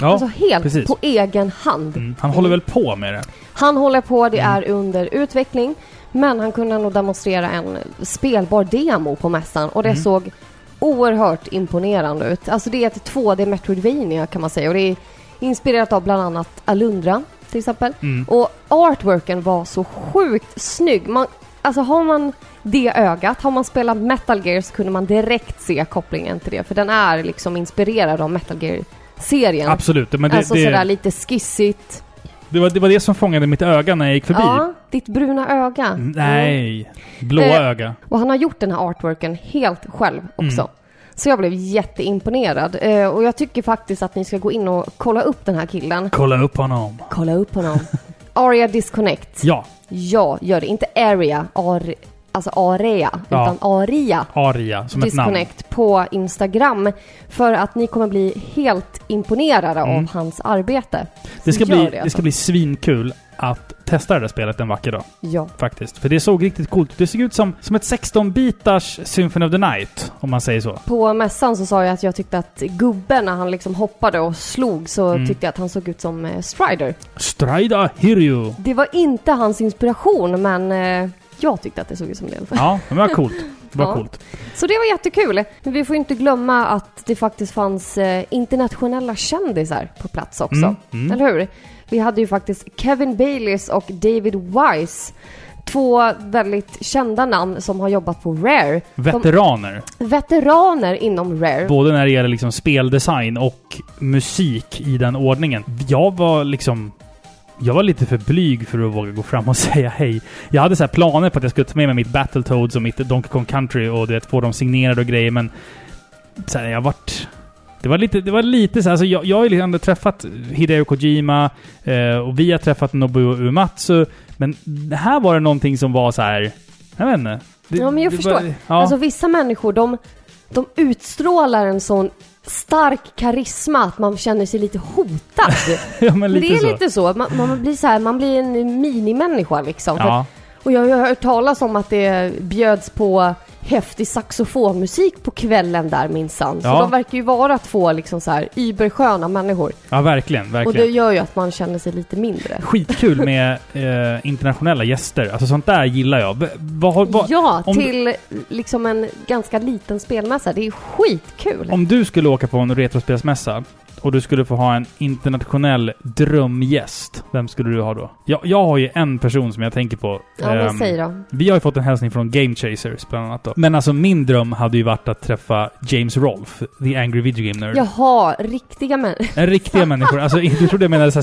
Speaker 2: Ja,
Speaker 1: alltså helt
Speaker 2: precis.
Speaker 1: på egen hand.
Speaker 2: Mm, han håller väl på med det?
Speaker 1: Han håller på, det
Speaker 2: Mm.
Speaker 1: är under utveckling, men han kunde nog demonstrera en spelbar demo på mässan och det
Speaker 2: Mm.
Speaker 1: såg oerhört imponerande ut. Alltså det är ett 2D Metroidvania kan man säga och det är inspirerat av bland annat Alundra till exempel.
Speaker 2: Mm.
Speaker 1: Och artworken var så sjukt snygg. Man, alltså har man det ögat, har man spelat Metal Gear så kunde man direkt se kopplingen till det för den är liksom inspirerad av Metal Gear-serien.
Speaker 2: Absolut. Men det,
Speaker 1: alltså sådär
Speaker 2: det,
Speaker 1: lite skissigt.
Speaker 2: det, var, det var det som fångade mitt öga när jag gick förbi.
Speaker 1: Ja, ditt bruna öga. Mm.
Speaker 2: Nej. Blåa
Speaker 1: Eh,
Speaker 2: öga.
Speaker 1: Och han har gjort den här artworken helt själv också.
Speaker 2: Mm.
Speaker 1: Så jag blev jätteimponerad. Eh, och jag tycker faktiskt att ni ska gå in och kolla upp den här killen.
Speaker 2: Kolla upp honom.
Speaker 1: Kolla upp honom. Aria Disconnect.
Speaker 2: Ja.
Speaker 1: Ja, gör det. Inte Area, ar, alltså Area,
Speaker 2: Ja.
Speaker 1: utan Aria.
Speaker 2: Aria, som ett namn.
Speaker 1: Disconnect på Instagram för att ni kommer bli helt imponerade
Speaker 2: Mm.
Speaker 1: av hans arbete.
Speaker 2: Det ska,
Speaker 1: Gör
Speaker 2: bli,
Speaker 1: det,
Speaker 2: det
Speaker 1: alltså.
Speaker 2: ska bli svinkul att testa det där spelet en vacker dag.
Speaker 1: Ja,
Speaker 2: Faktiskt. För det såg riktigt coolt ut. Det såg ut som, som ett 16-bitars Symphony of the Night, om man säger så.
Speaker 1: På mässan så sa jag att jag tyckte att gubben när han liksom hoppade och slog så
Speaker 2: Mm.
Speaker 1: tyckte jag att han såg ut som eh, Strider.
Speaker 2: Strida Hiryu.
Speaker 1: Det var inte hans inspiration men eh, jag tyckte att det såg ut som det i alla fall.
Speaker 2: Ja, men det var coolt. Det var
Speaker 1: Ja.
Speaker 2: coolt.
Speaker 1: Så det var jättekul. Men vi får inte glömma att det faktiskt fanns eh, internationella kändisar på plats också.
Speaker 2: Mm, mm.
Speaker 1: Eller hur? Vi hade ju faktiskt Kevin Baileys och David Wise. Två väldigt kända namn som har jobbat på Rare.
Speaker 2: Veteraner.
Speaker 1: Veteraner inom Rare.
Speaker 2: Både när det gäller liksom speldesign och musik i den ordningen. Jag var liksom... Jag var lite för blyg för att våga gå fram och säga hej. Jag hade så här planer på att jag skulle ta med mig mitt Battletoads och mitt Donkey Kong Country och du vet, få dem signerade och grejer, men... Så här, jag vart... Det var lite, det var lite så här, alltså jag, jag har ju liksom ändå träffat Hideo Kojima eh, och vi har träffat Nobuo Uematsu, men här var det någonting som var så här... Jag vet inte. Det-
Speaker 1: Ja, men jag
Speaker 2: det
Speaker 1: förstår.
Speaker 2: var- ja.
Speaker 1: Alltså vissa människor, de, de utstrålar en sån stark karisma att man känner sig lite hotad.
Speaker 2: ja, men
Speaker 1: Men
Speaker 2: lite
Speaker 1: det är
Speaker 2: så.
Speaker 1: lite så, man, man blir så här, man blir en minimänniska liksom. För
Speaker 2: ja.
Speaker 1: att- Och jag har ju hört talas om att det bjöds på häftig saxofonmusik på kvällen där minsann. Så
Speaker 2: Ja.
Speaker 1: de verkar ju vara två liksom så här ybersköna människor.
Speaker 2: ja, verkligen.
Speaker 1: Och
Speaker 2: verkligen.
Speaker 1: det gör ju att man känner sig lite mindre.
Speaker 2: Skitkul med eh, internationella gäster. Alltså sånt där gillar jag. V- Vad, har- vad,
Speaker 1: Ja,
Speaker 2: om du-
Speaker 1: till liksom en ganska liten spelmässa. Det är skitkul.
Speaker 2: Om du skulle åka på en retrospelsmässa och du skulle få ha en internationell drömgäst, vem skulle du ha då? Jag, jag har ju en person som jag tänker på.
Speaker 1: Ja, men
Speaker 2: Ehm,
Speaker 1: säg då.
Speaker 2: vi har ju fått en hälsning från Game Chasers bland annat då. Men alltså min dröm hade ju varit att träffa James Rolfe, The Angry Video Game Nerd.
Speaker 1: Jaha, riktiga män.
Speaker 2: En riktiga människor. Alltså du trodde jag menade så här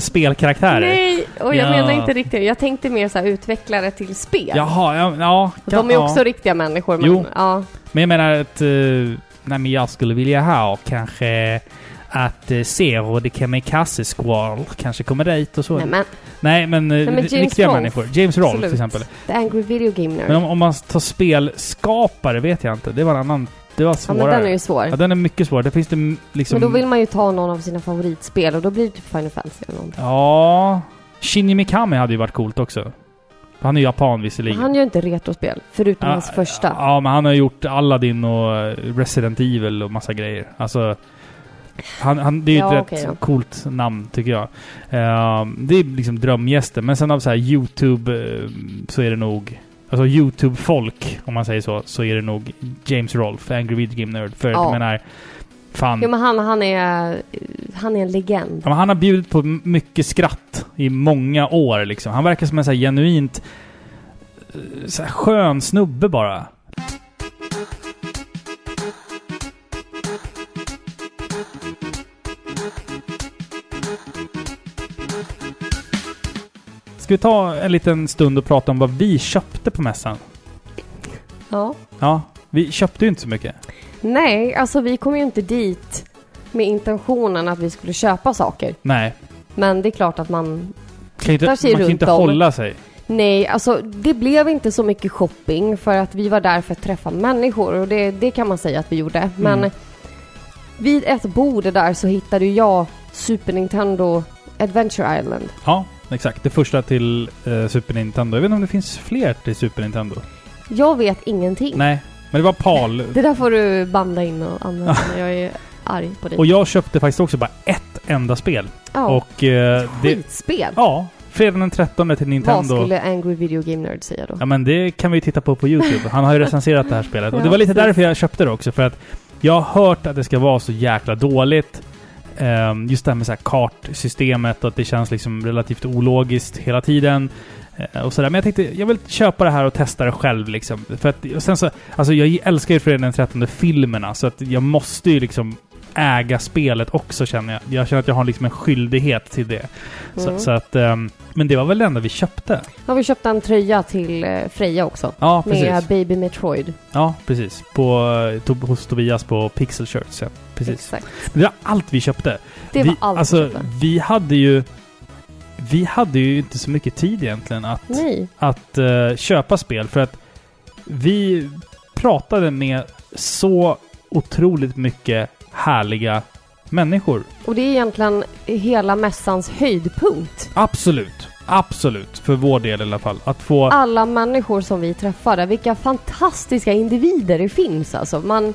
Speaker 2: spelkaraktärer?
Speaker 1: Nej, och jag
Speaker 2: Ja.
Speaker 1: menar inte riktigt. Jag tänkte mer så här utvecklare till spel.
Speaker 2: Jaha, ja, ja,
Speaker 1: De är
Speaker 2: ja.
Speaker 1: också riktiga människor, men
Speaker 2: Jo.
Speaker 1: ja.
Speaker 2: Men jag menar att... eh, nej, men jag skulle vilja ha kanske att eh, Zero the Kamikaze Squall kanske kommer dit och så.
Speaker 1: Nej men,
Speaker 2: Nej, men, eh,
Speaker 1: men James
Speaker 2: riktiga
Speaker 1: Rolfe.
Speaker 2: människor. James Rolfe till
Speaker 1: Absolut.
Speaker 2: exempel.
Speaker 1: The Angry Video Game Nerd.
Speaker 2: Men om, om man tar spelskapare vet jag inte. Det var en annan... Det var
Speaker 1: ja,
Speaker 2: svårare.
Speaker 1: men den är ju svår.
Speaker 2: Ja, den är mycket svårare. Där finns det mm, liksom...
Speaker 1: Men då vill man ju ta någon av sina favoritspel och då blir det typ Final Fantasy eller någonting.
Speaker 2: Ja... Shinji Mikami hade ju varit coolt också. Han är ju japan
Speaker 1: Men
Speaker 2: visserligen.
Speaker 1: han gör ju inte retrospel, förutom
Speaker 2: Ja,
Speaker 1: hans första.
Speaker 2: Ja, men han har gjort Aladdin och eh, Resident Evil och massa grejer. Alltså... Han, han, det är ju
Speaker 1: Ja,
Speaker 2: ett
Speaker 1: okej
Speaker 2: rätt
Speaker 1: då.
Speaker 2: coolt namn, tycker jag. Ehm, det är liksom drömgäster. Men sen av så här YouTube eh, så är det nog... alltså YouTube-folk, om man säger så, så är det nog James Rolfe, Angry Video Game Nerd. För
Speaker 1: Ja.
Speaker 2: jag menar, fan.
Speaker 1: Jo, men han, han, är, han är en legend.
Speaker 2: Ja, men han har bjudit på m- mycket skratt i många år liksom. Han verkar som en så här genuint eh, så här skön snubbe bara. Ska vi ta en liten stund och prata om vad vi köpte på mässan?
Speaker 1: Ja.
Speaker 2: Ja, vi köpte ju inte så mycket.
Speaker 1: Nej, alltså vi kom ju inte dit med intentionen att vi skulle köpa saker.
Speaker 2: Nej.
Speaker 1: Men det är klart att man...
Speaker 2: Kan inte, man
Speaker 1: Där ser
Speaker 2: kan
Speaker 1: runt
Speaker 2: inte
Speaker 1: om.
Speaker 2: hålla sig.
Speaker 1: Nej, alltså det blev inte så mycket shopping för att vi var där för att träffa människor och det, det kan man säga att vi gjorde. Men
Speaker 2: Mm.
Speaker 1: vid ett bord där så hittade ju jag Super Nintendo Adventure Island.
Speaker 2: Ja, exakt. Det första till eh, Super Nintendo. Jag vet inte om det finns fler till Super Nintendo?
Speaker 1: Jag vet ingenting.
Speaker 2: Nej, men det var PAL.
Speaker 1: Det där får du banda in och använda när jag är arg på dig.
Speaker 2: Och jag köpte faktiskt också bara ett enda spel.
Speaker 1: ja,
Speaker 2: Och eh, det...
Speaker 1: skitspel!
Speaker 2: Ja, fredagen den 13 till
Speaker 1: Vad
Speaker 2: Nintendo.
Speaker 1: skulle Angry Video Game Nerd säga då?
Speaker 2: Ja men det kan vi ju titta på på YouTube. Han har ju recenserat det här spelet. Och det var lite
Speaker 1: Ja, precis.
Speaker 2: därför jag köpte det också. För att jag har hört att det ska vara så jäkla dåligt. Ehm, just det här med så här kartsystemet och att det känns liksom relativt ologiskt hela tiden. Eh, och sådär. Men jag tänkte, jag vill köpa det här och testa det själv liksom. För att, och sen så, alltså jag älskar ju Fredag den 13 filmerna så att jag måste ju liksom äga spelet också känner jag. Jag känner att jag har liksom en skyldighet till det.
Speaker 1: Mm.
Speaker 2: Så, så att, ehm, men det var väl det enda vi köpte?
Speaker 1: Ja, vi köpte en tröja till eh, Freja också.
Speaker 2: Ja, precis.
Speaker 1: Med Baby Metroid.
Speaker 2: Ja, precis. På, eh, to, hos Tobias på Pixel Shirts. Ja. Precis.
Speaker 1: Exakt.
Speaker 2: Det var allt vi köpte.
Speaker 1: Det
Speaker 2: vi,
Speaker 1: var allt
Speaker 2: alltså,
Speaker 1: vi köpte.
Speaker 2: vi hade ju... Vi hade ju inte så mycket tid egentligen att,
Speaker 1: Nej.
Speaker 2: att eh, köpa spel för att vi pratade med så otroligt mycket härliga människor.
Speaker 1: Och det är egentligen hela mässans höjdpunkt.
Speaker 2: Absolut. Absolut. För vår del i alla fall. Att få...
Speaker 1: Alla människor som vi träffade, vilka fantastiska individer det finns alltså. Man,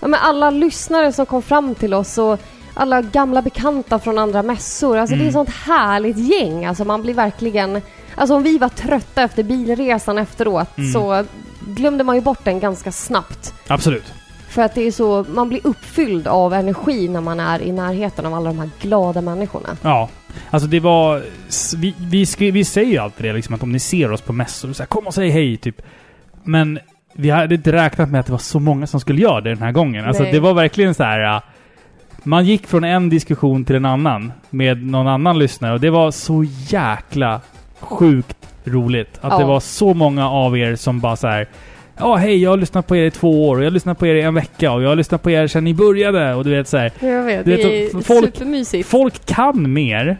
Speaker 1: ja, men alla lyssnare som kom fram till oss och alla gamla bekanta från andra mässor. Alltså det är
Speaker 2: Mm.
Speaker 1: ett sånt härligt gäng. Alltså man blir verkligen... Alltså om vi var trötta efter bilresan efteråt
Speaker 2: Mm.
Speaker 1: så glömde man ju bort den ganska snabbt.
Speaker 2: Absolut.
Speaker 1: För att det är så, man blir uppfylld av energi när man är i närheten av alla de här glada människorna.
Speaker 2: Ja. Alltså det var... s- Vi, vi, skri, vi säger ju alltid det liksom att om ni ser oss på mässor, så här, kom och säg hej typ. Men vi hade inte räknat med att det var så många som skulle göra det den här gången. Alltså
Speaker 1: Nej.
Speaker 2: det var verkligen så här... äh, Man gick från en diskussion till en annan med någon annan lyssnare och det var så jäkla sjukt roligt. Att
Speaker 1: Ja.
Speaker 2: det var så många av er som bara så här... Ja, hej, jag har lyssnat på er i två år och jag har lyssnat på er i en vecka och jag har lyssnat på er sedan ni började och du vet så här.
Speaker 1: Jag vet, det,
Speaker 2: Du vet,
Speaker 1: är
Speaker 2: folk-
Speaker 1: supermysigt.
Speaker 2: Folk kan mer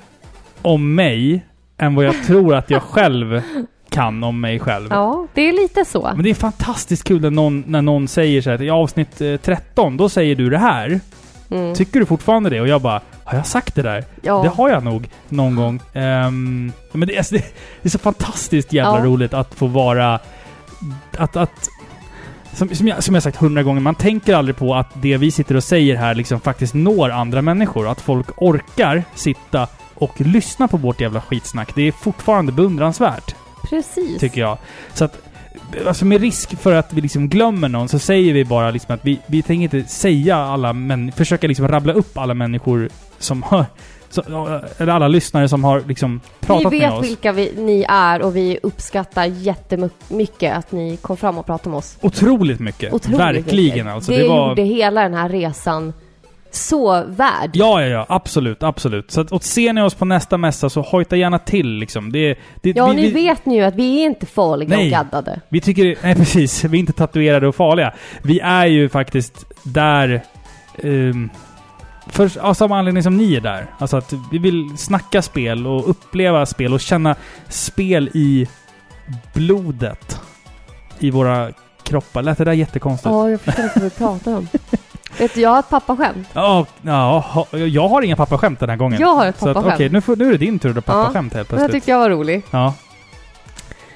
Speaker 2: om mig än vad jag tror att jag själv kan om mig själv.
Speaker 1: Ja, det är lite så.
Speaker 2: Men det är fantastiskt kul när någon, när någon säger så här att i avsnitt eh, 13, då säger du det här.
Speaker 1: Mm.
Speaker 2: Tycker du fortfarande det? Och jag bara, har jag sagt det där? Det
Speaker 1: Ja.
Speaker 2: har jag nog någon gång. Ehm, men det, är- alltså, det, det är så fantastiskt jävla
Speaker 1: Ja.
Speaker 2: roligt att få vara... Att, att, som, som, jag, som jag sagt hundra gånger, man tänker aldrig på att det vi sitter och säger här liksom faktiskt når andra människor. Att folk orkar sitta och lyssna på vårt jävla skitsnack. Det är fortfarande beundransvärt,
Speaker 1: Precis.
Speaker 2: tycker jag. Så att, alltså med risk för att vi liksom glömmer någon så säger vi bara liksom att vi, vi tänker inte säga alla män, försöka liksom rabbla upp alla människor som har, så- eh, eller alla lyssnare som har liksom pratat
Speaker 1: vi
Speaker 2: med
Speaker 1: vet
Speaker 2: oss.
Speaker 1: vilka vi, ni är och vi uppskattar jättemycket att ni kom fram och pratade med oss.
Speaker 2: Otroligt mycket.
Speaker 1: Otroligt
Speaker 2: Verkligen
Speaker 1: mycket.
Speaker 2: alltså.
Speaker 1: Det,
Speaker 2: Det, var...
Speaker 1: gjorde hela den här resan så värd.
Speaker 2: Ja, ja, ja. Absolut, absolut. Så att, och ser ni oss på nästa mässa så hojta gärna till liksom. Det, det,
Speaker 1: Ja,
Speaker 2: vi,
Speaker 1: nu
Speaker 2: vi,
Speaker 1: vet ni ju att vi är inte farliga
Speaker 2: Nej.
Speaker 1: och gaddade.
Speaker 2: vi tycker... Nej, precis. Vi är inte tatuerade och farliga. Vi är ju faktiskt där... ehm, för av samma anledning som ni är där. Alltså att vi vill snacka spel och uppleva spel och känna spel i blodet. I våra kroppar. Lät det där jättekonstigt?
Speaker 1: Ja, jag förstår inte vad du pratar om. Vet du, jag har ett pappaskämt.
Speaker 2: Ja, ja, ha- jag har inga pappaskämt den här gången.
Speaker 1: Jag har ett
Speaker 2: Så att,
Speaker 1: pappaskämt.
Speaker 2: okej, nu, får- nu är det din tur att dra pappaskämt helt
Speaker 1: Men jag
Speaker 2: plötsligt.
Speaker 1: tyckte jag var rolig.
Speaker 2: Ja,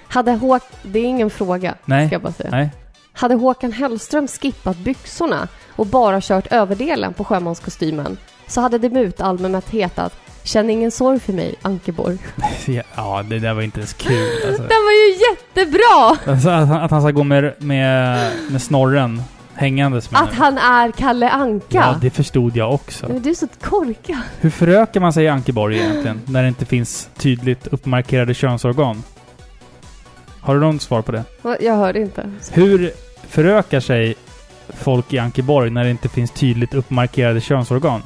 Speaker 1: Hade Håkan... Det är ingen fråga,
Speaker 2: nej.
Speaker 1: ska jag bara säga.
Speaker 2: Nej.
Speaker 1: Hade Håkan Hellström skippat byxorna och bara kört överdelen på sjömanskostymen så hade debutalbumet hetat Känn ingen sorg för mig, Ankeborg.
Speaker 2: Ja, det där var inte ens kul. Alltså.
Speaker 1: Den var ju jättebra!
Speaker 2: Alltså, att, han, att han ska gå med, med, med snorren hängandes med
Speaker 1: Att han är Kalle Anka.
Speaker 2: Ja, det förstod jag också.
Speaker 1: Men Du är så korkad.
Speaker 2: Hur förökar man sig i Ankeborg egentligen? När det inte finns tydligt uppmarkerade könsorgan? Har du någon svar på det?
Speaker 1: Va, Jag hörde inte.
Speaker 2: Hur förökar sig folk i Ankeborg när det inte finns tydligt uppmarkerade könsorgan?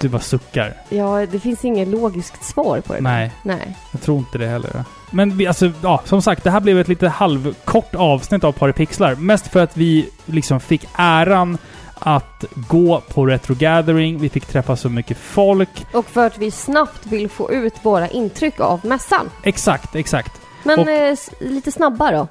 Speaker 2: Du bara suckar.
Speaker 1: Ja, det finns inget logiskt svar på det.
Speaker 2: Nej.
Speaker 1: Nej.
Speaker 2: Jag tror inte det heller. Men vi, alltså, ja, som sagt, det här blev ett lite halvkort avsnitt av Paripixlar. Mest för att vi liksom fick äran att gå på Retro Gathering. Vi fick träffa så mycket folk.
Speaker 1: Och för att vi snabbt vill få ut våra intryck av mässan.
Speaker 2: Exakt, exakt.
Speaker 1: Men
Speaker 2: Och-
Speaker 1: eh, s- lite snabbare då.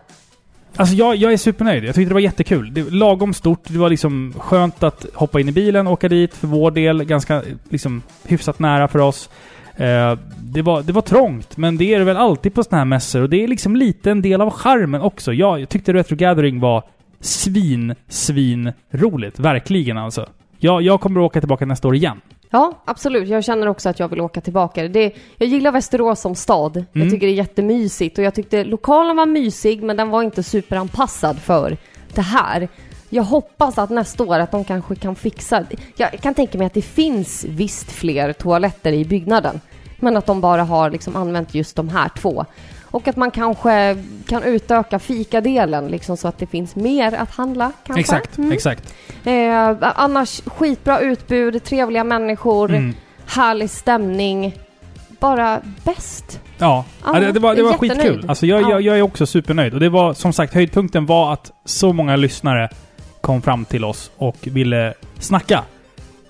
Speaker 2: Alltså jag, jag är supernöjd. Jag tyckte det var jättekul. Det var lagom stort. Det var liksom skönt att hoppa in i bilen och åka dit för vår del. Ganska liksom hyfsat nära för oss. Eh, det, var, det var trångt, men det är det väl alltid på såna här mässor. Och det är liksom lite en del av charmen också. Jag, jag tyckte Retro Gathering var svin, svin roligt. Verkligen alltså. Jag, jag kommer att åka tillbaka nästa år igen.
Speaker 1: Ja, absolut. Jag känner också att jag vill åka tillbaka. Det, jag gillar Västerås som stad. Jag
Speaker 2: Mm.
Speaker 1: tycker det är jättemysigt och jag tyckte lokalen var mysig men den var inte superanpassad för det här. Jag hoppas att nästa år att de kanske kan fixa. Jag kan tänka mig att det finns visst fler toaletter i byggnaden. Men att de bara har liksom använt just de här två. Och att man kanske kan utöka fikadelen liksom så att det finns mer att handla. Kanske.
Speaker 2: Exakt,
Speaker 1: Mm.
Speaker 2: exakt.
Speaker 1: Eh, annars skitbra utbud, trevliga människor,
Speaker 2: Mm.
Speaker 1: härlig stämning. Bara bäst.
Speaker 2: Ja,
Speaker 1: Ja,
Speaker 2: ja, det, det var, det var
Speaker 1: jättenöjd.
Speaker 2: skitkul. Alltså jag,
Speaker 1: Ja.
Speaker 2: jag, jag är också supernöjd. Och det var som sagt, höjdpunkten var att så många lyssnare kom fram till oss och ville snacka.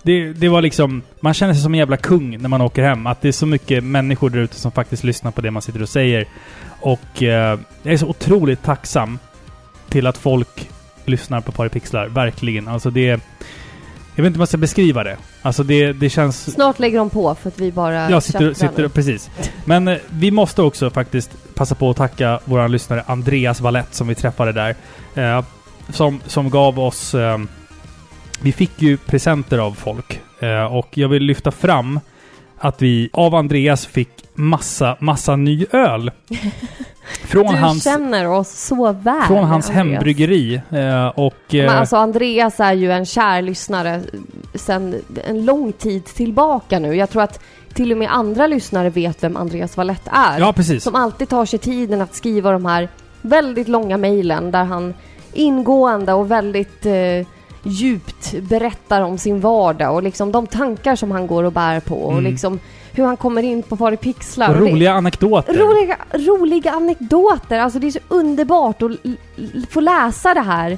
Speaker 2: Det, det var liksom, man känner sig som en jävla kung när man åker hem. Att det är så mycket människor där ute som faktiskt lyssnar på det man sitter och säger. Och eh, jag är så otroligt tacksam till att folk lyssnar på Paripixlar. Verkligen. Alltså det... Jag vet inte hur man ska beskriva det. Alltså det, det känns...
Speaker 1: Snart lägger de på för att vi bara
Speaker 2: Jag sitter,
Speaker 1: tjattrar nu.
Speaker 2: sitter precis. Men eh, vi måste också faktiskt passa på att tacka vår lyssnare Andreas Valett som vi träffade där. Eh, som, som gav oss... Eh, vi fick ju presenter av folk. Eh, och jag vill lyfta fram att vi av Andreas fick massa, massa ny öl. Från
Speaker 1: Du
Speaker 2: hans,
Speaker 1: känner oss så väl.
Speaker 2: från hans
Speaker 1: Andreas.
Speaker 2: hembryggeri. Eh, och... eh,
Speaker 1: Men alltså Andreas är ju en kär lyssnare sedan en lång tid tillbaka nu. Jag tror att till och med andra lyssnare vet vem Andreas Valett är.
Speaker 2: ja, precis.
Speaker 1: som alltid tar sig tiden att skriva de här väldigt långa mejlen där han ingående och väldigt eh, djupt berättar om sin vardag och liksom de tankar som han går och bär på och
Speaker 2: Mm.
Speaker 1: liksom hur han kommer in på Pari Pixlar.
Speaker 2: Och
Speaker 1: Och det-
Speaker 2: roliga anekdoter.
Speaker 1: Roliga, roliga anekdoter, alltså det är så underbart att l- l- få läsa det här.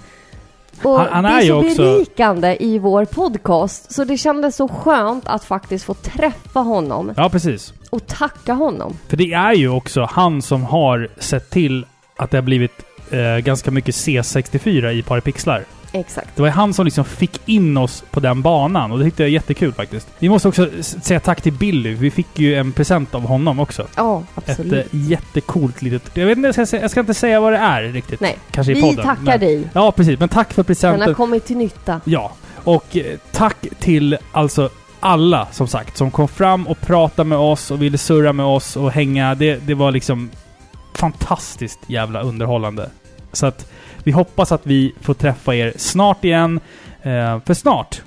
Speaker 1: Och
Speaker 2: Han- han
Speaker 1: det
Speaker 2: är
Speaker 1: är,
Speaker 2: ju
Speaker 1: så
Speaker 2: också-
Speaker 1: berikande i vår podcast, så det kändes så skönt att faktiskt få träffa honom
Speaker 2: Ja, precis.
Speaker 1: och tacka honom.
Speaker 2: För det är ju också han som har sett till att det har blivit eh, ganska mycket C64 i Paripixlar.
Speaker 1: Exakt.
Speaker 2: Det var ju han som liksom fick in oss på den banan och det tyckte jag är jättekul faktiskt. Vi måste också s- säga tack till Billy. Vi fick ju en present av honom också.
Speaker 1: Ja,
Speaker 2: Ett
Speaker 1: absolut.
Speaker 2: eh, jättecoolt litet... Jag, vet inte, jag, ska, säga- jag ska inte säga vad det är riktigt.
Speaker 1: Nej,
Speaker 2: Kanske i
Speaker 1: vi
Speaker 2: podden.
Speaker 1: tackar
Speaker 2: men,
Speaker 1: dig.
Speaker 2: Ja, precis. Men tack för
Speaker 1: Den har
Speaker 2: presenten.
Speaker 1: kommit till nytta.
Speaker 2: Ja, och eh, tack till alltså alla som sagt som kom fram och pratade med oss och ville surra med oss och hänga. Det, det var liksom fantastiskt jävla underhållande. Så att vi hoppas att vi får träffa er snart igen. Eh, för snart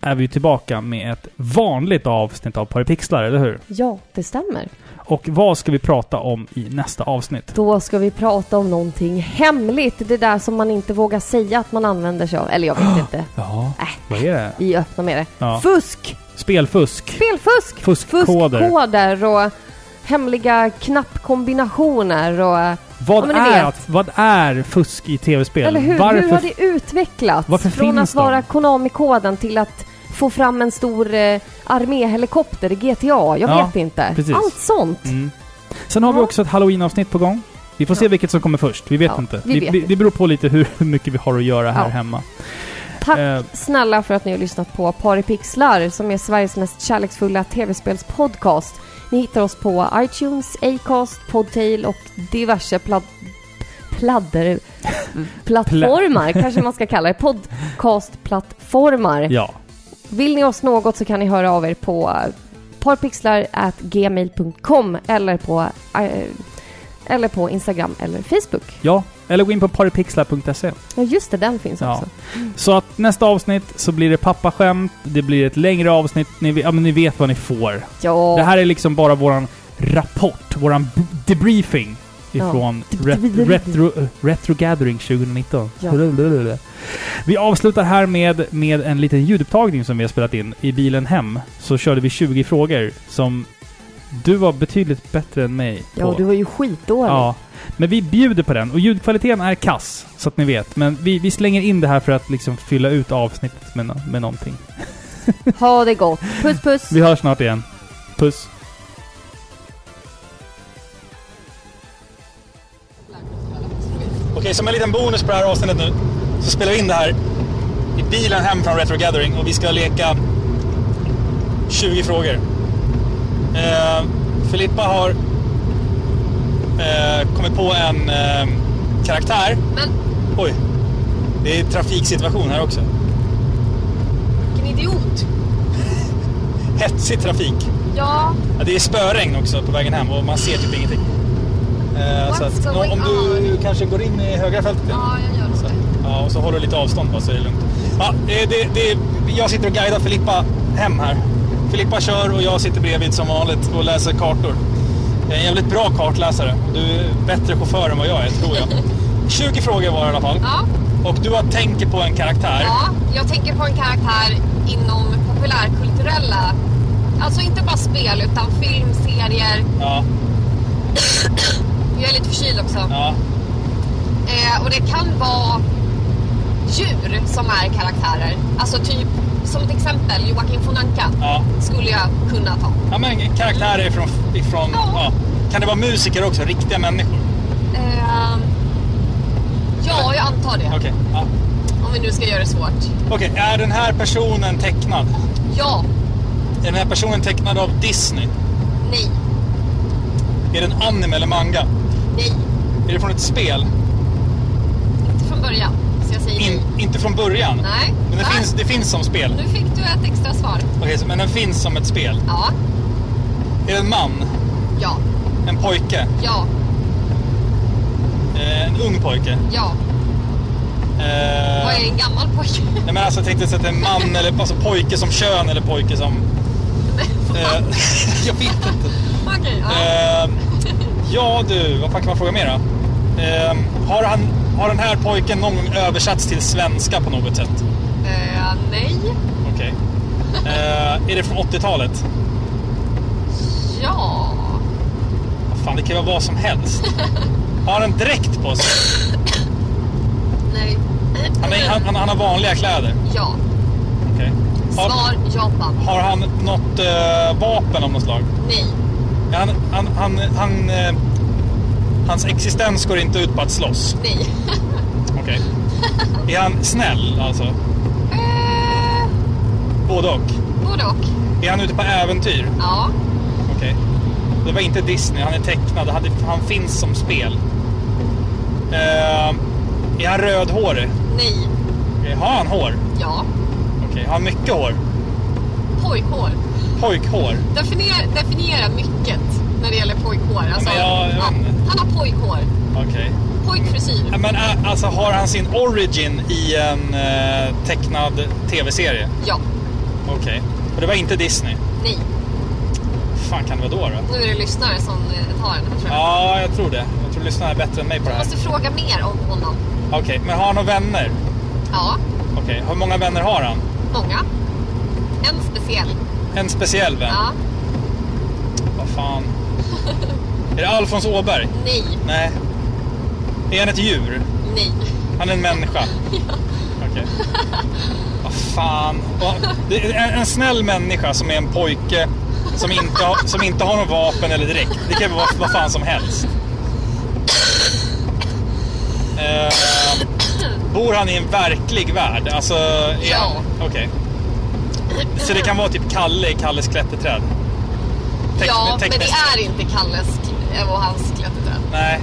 Speaker 2: är vi tillbaka med ett vanligt avsnitt av Paripixlar, eller hur?
Speaker 1: Ja, det stämmer.
Speaker 2: Och vad ska vi prata om i nästa avsnitt?
Speaker 1: Då ska vi prata om någonting hemligt. Det där som man inte vågar säga att man använder sig av. Eller jag vet inte.
Speaker 2: Ja,
Speaker 1: Äh.
Speaker 2: vad är det?
Speaker 1: Vi är öppna med det.
Speaker 2: Ja.
Speaker 1: Fusk!
Speaker 2: Spelfusk.
Speaker 1: Spelfusk!
Speaker 2: Fuskkoder.
Speaker 1: Fuskkoder och hemliga knappkombinationer och...
Speaker 2: Vad,
Speaker 1: Ja, men ni
Speaker 2: är,
Speaker 1: vet.
Speaker 2: att- vad är fusk i tv-spel?
Speaker 1: Eller hur?
Speaker 2: Varför
Speaker 1: Hur har det utvecklats?
Speaker 2: Varför
Speaker 1: Från
Speaker 2: finns
Speaker 1: att vara
Speaker 2: de?
Speaker 1: Konami-koden till att få fram en stor eh, arméhelikopter i GTA. Jag
Speaker 2: Ja,
Speaker 1: vet inte.
Speaker 2: precis.
Speaker 1: Allt sånt.
Speaker 2: Mm. Sen har vi
Speaker 1: Ja.
Speaker 2: också ett halloween-avsnitt på gång. Vi får se vilket som kommer först. Vi vet
Speaker 1: Ja,
Speaker 2: inte.
Speaker 1: vi
Speaker 2: Vi
Speaker 1: vet
Speaker 2: vi,
Speaker 1: inte.
Speaker 2: det beror på lite hur hur mycket vi har att göra här
Speaker 1: Ja.
Speaker 2: hemma.
Speaker 1: Tack
Speaker 2: Eh,
Speaker 1: snälla för att ni har lyssnat på Paripixlar som är Sveriges mest kärleksfulla tv-spelspodcast. Ni hittar oss på iTunes, Acast, Podtail och diverse plad... Pladder... Plattformar, kanske man ska kalla det. Podcastplattformar.
Speaker 2: ja.
Speaker 3: Vill ni oss något så kan ni höra av er på eh, parpixlar.gmail.com eller på, eh, eller på Instagram eller Facebook.
Speaker 4: Ja, eller gå in på paripixlar.se.
Speaker 3: Ja, just det, den finns
Speaker 4: Ja.
Speaker 3: också.
Speaker 4: Så att nästa avsnitt så blir det pappaskämt, det blir ett längre avsnitt. Ni, ve- ja, men ni vet vad ni får.
Speaker 3: Ja,
Speaker 4: Det här är liksom bara våran rapport, våran b- debriefing ifrån ret- retro, eh, retro Gathering 2019.
Speaker 3: Ja.
Speaker 4: Vi avslutar här med, med en liten ljudupptagning som vi har spelat in. I bilen hem så körde vi 20 frågor som du var betydligt bättre än mig
Speaker 3: ja
Speaker 4: på.
Speaker 3: och du var ju skitdålig.
Speaker 4: Ja, men vi bjuder på den. Och ljudkvaliteten är kass, så att ni vet. Men vi, vi slänger in det här för att liksom fylla ut avsnittet med, nå- med någonting.
Speaker 3: Ha det gott. Puss puss.
Speaker 4: Vi hörs snart igen. Puss!
Speaker 2: Okej, som en liten bonus på det här avsnittet nu så spelar vi in det här i bilen hem från Retro Gathering och vi ska leka 20 frågor. Eh, Filippa har eh, kommit på en eh, karaktär.
Speaker 3: Men-
Speaker 2: Oj, det är trafiksituation här också.
Speaker 3: Vilken idiot.
Speaker 2: Hetsig trafik.
Speaker 3: Ja.
Speaker 2: Ja, Det är spöregn också på vägen hem och man ser typ ingenting. Eh, så
Speaker 3: What's
Speaker 2: att,
Speaker 3: going
Speaker 2: om du kanske går in i högra fältet.
Speaker 3: jag gör
Speaker 2: Så, ja, och så håller du lite avstånd bara så är det lugnt. Ja, det, det, det, jag sitter och guidar Filippa hem här. Filippa kör och jag sitter bredvid som vanligt och läser kartor. Jag är en jävligt bra kartläsare. Du är bättre chaufför än vad jag är, tror jag. 20 frågor var det i alla fall.
Speaker 1: Ja,
Speaker 2: Och du har tänkt på en karaktär.
Speaker 1: ja, jag tänker på en karaktär inom populärkulturella, alltså inte bara spel utan film, serier.
Speaker 2: Ja,
Speaker 1: Jag är lite förkyld också.
Speaker 2: ja,
Speaker 1: Eh, och det kan vara djur som är karaktärer. Alltså typ, som ett exempel, Joakim von Anka
Speaker 2: ja.
Speaker 1: skulle jag kunna ta.
Speaker 2: ja men karaktärer ifrån... ifrån
Speaker 1: Ja.
Speaker 2: ja. Kan det vara musiker också? Riktiga människor?
Speaker 1: Eh, ja, jag antar det.
Speaker 2: Okej. Ja.
Speaker 1: Om vi nu ska göra det svårt.
Speaker 2: Okej, är den här personen tecknad?
Speaker 1: Ja,
Speaker 2: Är den här personen tecknad av Disney?
Speaker 1: nej,
Speaker 2: Är den anime eller manga?
Speaker 1: nej.
Speaker 2: Är det från ett spel?
Speaker 1: Inte från början. Så jag säger nej.
Speaker 2: In, inte från början?
Speaker 1: Mm. Nej.
Speaker 2: Men det
Speaker 1: Va?
Speaker 2: finns, det finns som spel?
Speaker 1: Nu fick du ett extra svar.
Speaker 2: Okej, så- men den finns som ett spel.
Speaker 1: Ja,
Speaker 2: Är det en man?
Speaker 1: ja,
Speaker 2: En pojke?
Speaker 1: ja,
Speaker 2: Eh, en ung pojke?
Speaker 1: ja.
Speaker 2: Eh,
Speaker 1: Vad är en gammal pojke?
Speaker 2: Nej men alltså jag tänkte så att det är en man eller alltså, pojke som kön eller pojke som... Eh, jag vet inte.
Speaker 1: Okej, ja.
Speaker 2: Eh, ja du, vad fan kan man fråga mer då? Eh, har, han, har den här pojken någon gång översatts till svenska på något sätt?
Speaker 1: Eh, nej.
Speaker 2: Okej. Eh, är det från 80-talet?
Speaker 1: Ja.
Speaker 2: Fan, det kan ju vara vad som helst. Har han en dräkt på sig?
Speaker 1: Nej.
Speaker 2: Han, är, han, han, han har vanliga kläder.
Speaker 1: Ja.
Speaker 2: Okej. Har,
Speaker 1: Svar Japan.
Speaker 2: har han något eh, vapen av något slag?
Speaker 1: Nej.
Speaker 2: Ja, Han, han, han, han, eh, hans existens går inte ut på att slåss.
Speaker 1: Nej.
Speaker 2: Okej. Är han snäll, alltså?
Speaker 1: Eh,
Speaker 2: Både och.
Speaker 1: både och.
Speaker 2: Är han ute på äventyr?
Speaker 1: Ja.
Speaker 2: Okej. Det var inte Disney, han är tecknad. Han, är- han finns som spel. Eh, är han rödhårig?
Speaker 1: Nej.
Speaker 2: Okej, Har han hår?
Speaker 1: Ja.
Speaker 2: Okej, har han mycket hår?
Speaker 1: Pojkhår.
Speaker 2: Pojkhår?
Speaker 1: Definiera, definiera mycket när det gäller pojkhår. Alltså,
Speaker 2: men jag- jag vet inte.
Speaker 1: han har pojkhår.
Speaker 2: Okej.
Speaker 1: Pojkfrisyr.
Speaker 2: Ja, Men ä, alltså har han sin origin i en eh, tecknad tv-serie?
Speaker 1: Ja.
Speaker 2: Okej. Och det var inte Disney?
Speaker 1: Nej.
Speaker 2: fan kan det vara då? då?
Speaker 1: Nu är det lyssnare som eh, tar den här tror jag.
Speaker 2: Ja, jag tror det. Jag tror lyssnarna är bättre än mig på det
Speaker 1: Du
Speaker 2: här.
Speaker 1: måste fråga mer om honom.
Speaker 2: Okej, men har han några vänner?
Speaker 1: Ja.
Speaker 2: Okej, hur många vänner har han?
Speaker 1: Många. En speciell.
Speaker 2: En speciell vän?
Speaker 1: Ja.
Speaker 2: Vad fan. är det Alfons Åberg?
Speaker 1: Nej.
Speaker 2: Nej. Är han ett djur?
Speaker 1: Nej.
Speaker 2: Han är en människa? Okej. Vad fan. Vad- Det är en, en snäll människa som är en pojke som inte, har- som inte har någon vapen eller direkt. Det kan ju vara vad fan som helst. Eh, bor han i en verklig värld? Alltså, är han-
Speaker 1: Ja.
Speaker 2: Okej. Så det kan vara typ Kalle i Kalles klätterträd? Teck-
Speaker 1: ja, men det
Speaker 2: tekniskt.
Speaker 1: är inte Kalles k- och hans klätterträd.
Speaker 2: Nej.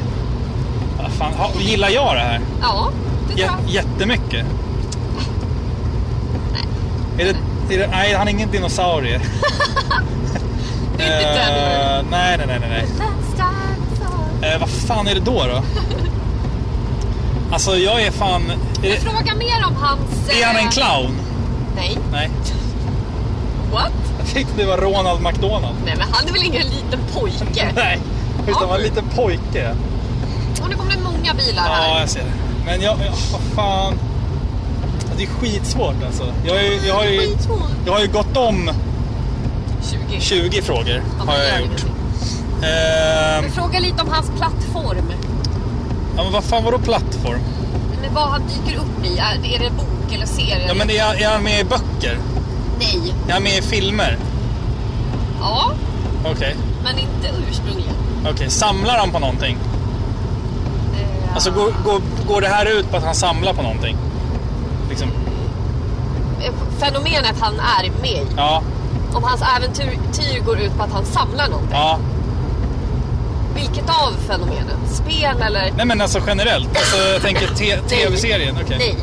Speaker 2: Vad fan. Ha, gillar jag det här?
Speaker 1: Ja, det tror
Speaker 2: J-
Speaker 1: jag.
Speaker 2: jättemycket. Är det, I den- Nej, han är ingen dinosaurie.
Speaker 1: Du är inte död.
Speaker 2: Eh, nej, nej, nej, nej. nej.
Speaker 1: Let's dance all-
Speaker 2: Eh, vad fan är det då då? Alltså jag är fan... Är,
Speaker 1: Men
Speaker 2: det-
Speaker 1: Fråga mer om hans...
Speaker 2: är han
Speaker 1: eh,
Speaker 2: en clown?
Speaker 1: Nej.
Speaker 2: Nej.
Speaker 1: What?
Speaker 2: Jag tänkte det var Ronald McDonald.
Speaker 1: Nej men han är väl ingen liten pojke?
Speaker 2: Nej, utan han var en liten pojke.
Speaker 1: Och nu kommer det många bilar
Speaker 2: Ja,
Speaker 1: här.
Speaker 2: jag ser det. Men jag, jag vad fan. Alltså, Det är skitsvårt alltså. Jag, är, ju- jag, har ju,
Speaker 1: Skitsvårt.
Speaker 2: jag har ju gått om
Speaker 1: 20.
Speaker 2: 20 frågor.
Speaker 1: Ja, men
Speaker 2: Har
Speaker 1: det gör
Speaker 2: jag gjort.
Speaker 1: ingenting. Men
Speaker 2: Ehm,
Speaker 1: Fråga lite om hans plattform.
Speaker 2: ja, men vad fan var då plattform?
Speaker 1: Men vad han dyker upp i. Är är det bok eller serie?
Speaker 2: Ja, men är, jag- är han med i böcker?
Speaker 1: Nej.
Speaker 2: Är han med i filmer?
Speaker 1: Ja,
Speaker 2: Okej.
Speaker 1: men inte ursprungligen.
Speaker 2: Okej, samlar han på någonting?
Speaker 1: Eh,
Speaker 2: Alltså går, går, går det här ut på att han samlar på någonting? Liksom,
Speaker 1: eh, Fenomenet han är med i.
Speaker 2: ja,
Speaker 1: Om hans äventyr tyr går ut på att han samlar någonting.
Speaker 2: ja.
Speaker 1: Vilket av fenomenen? Spel eller?
Speaker 2: Nej men alltså generellt. Alltså, jag tänker te, tv-serien. Okej.
Speaker 1: Nej,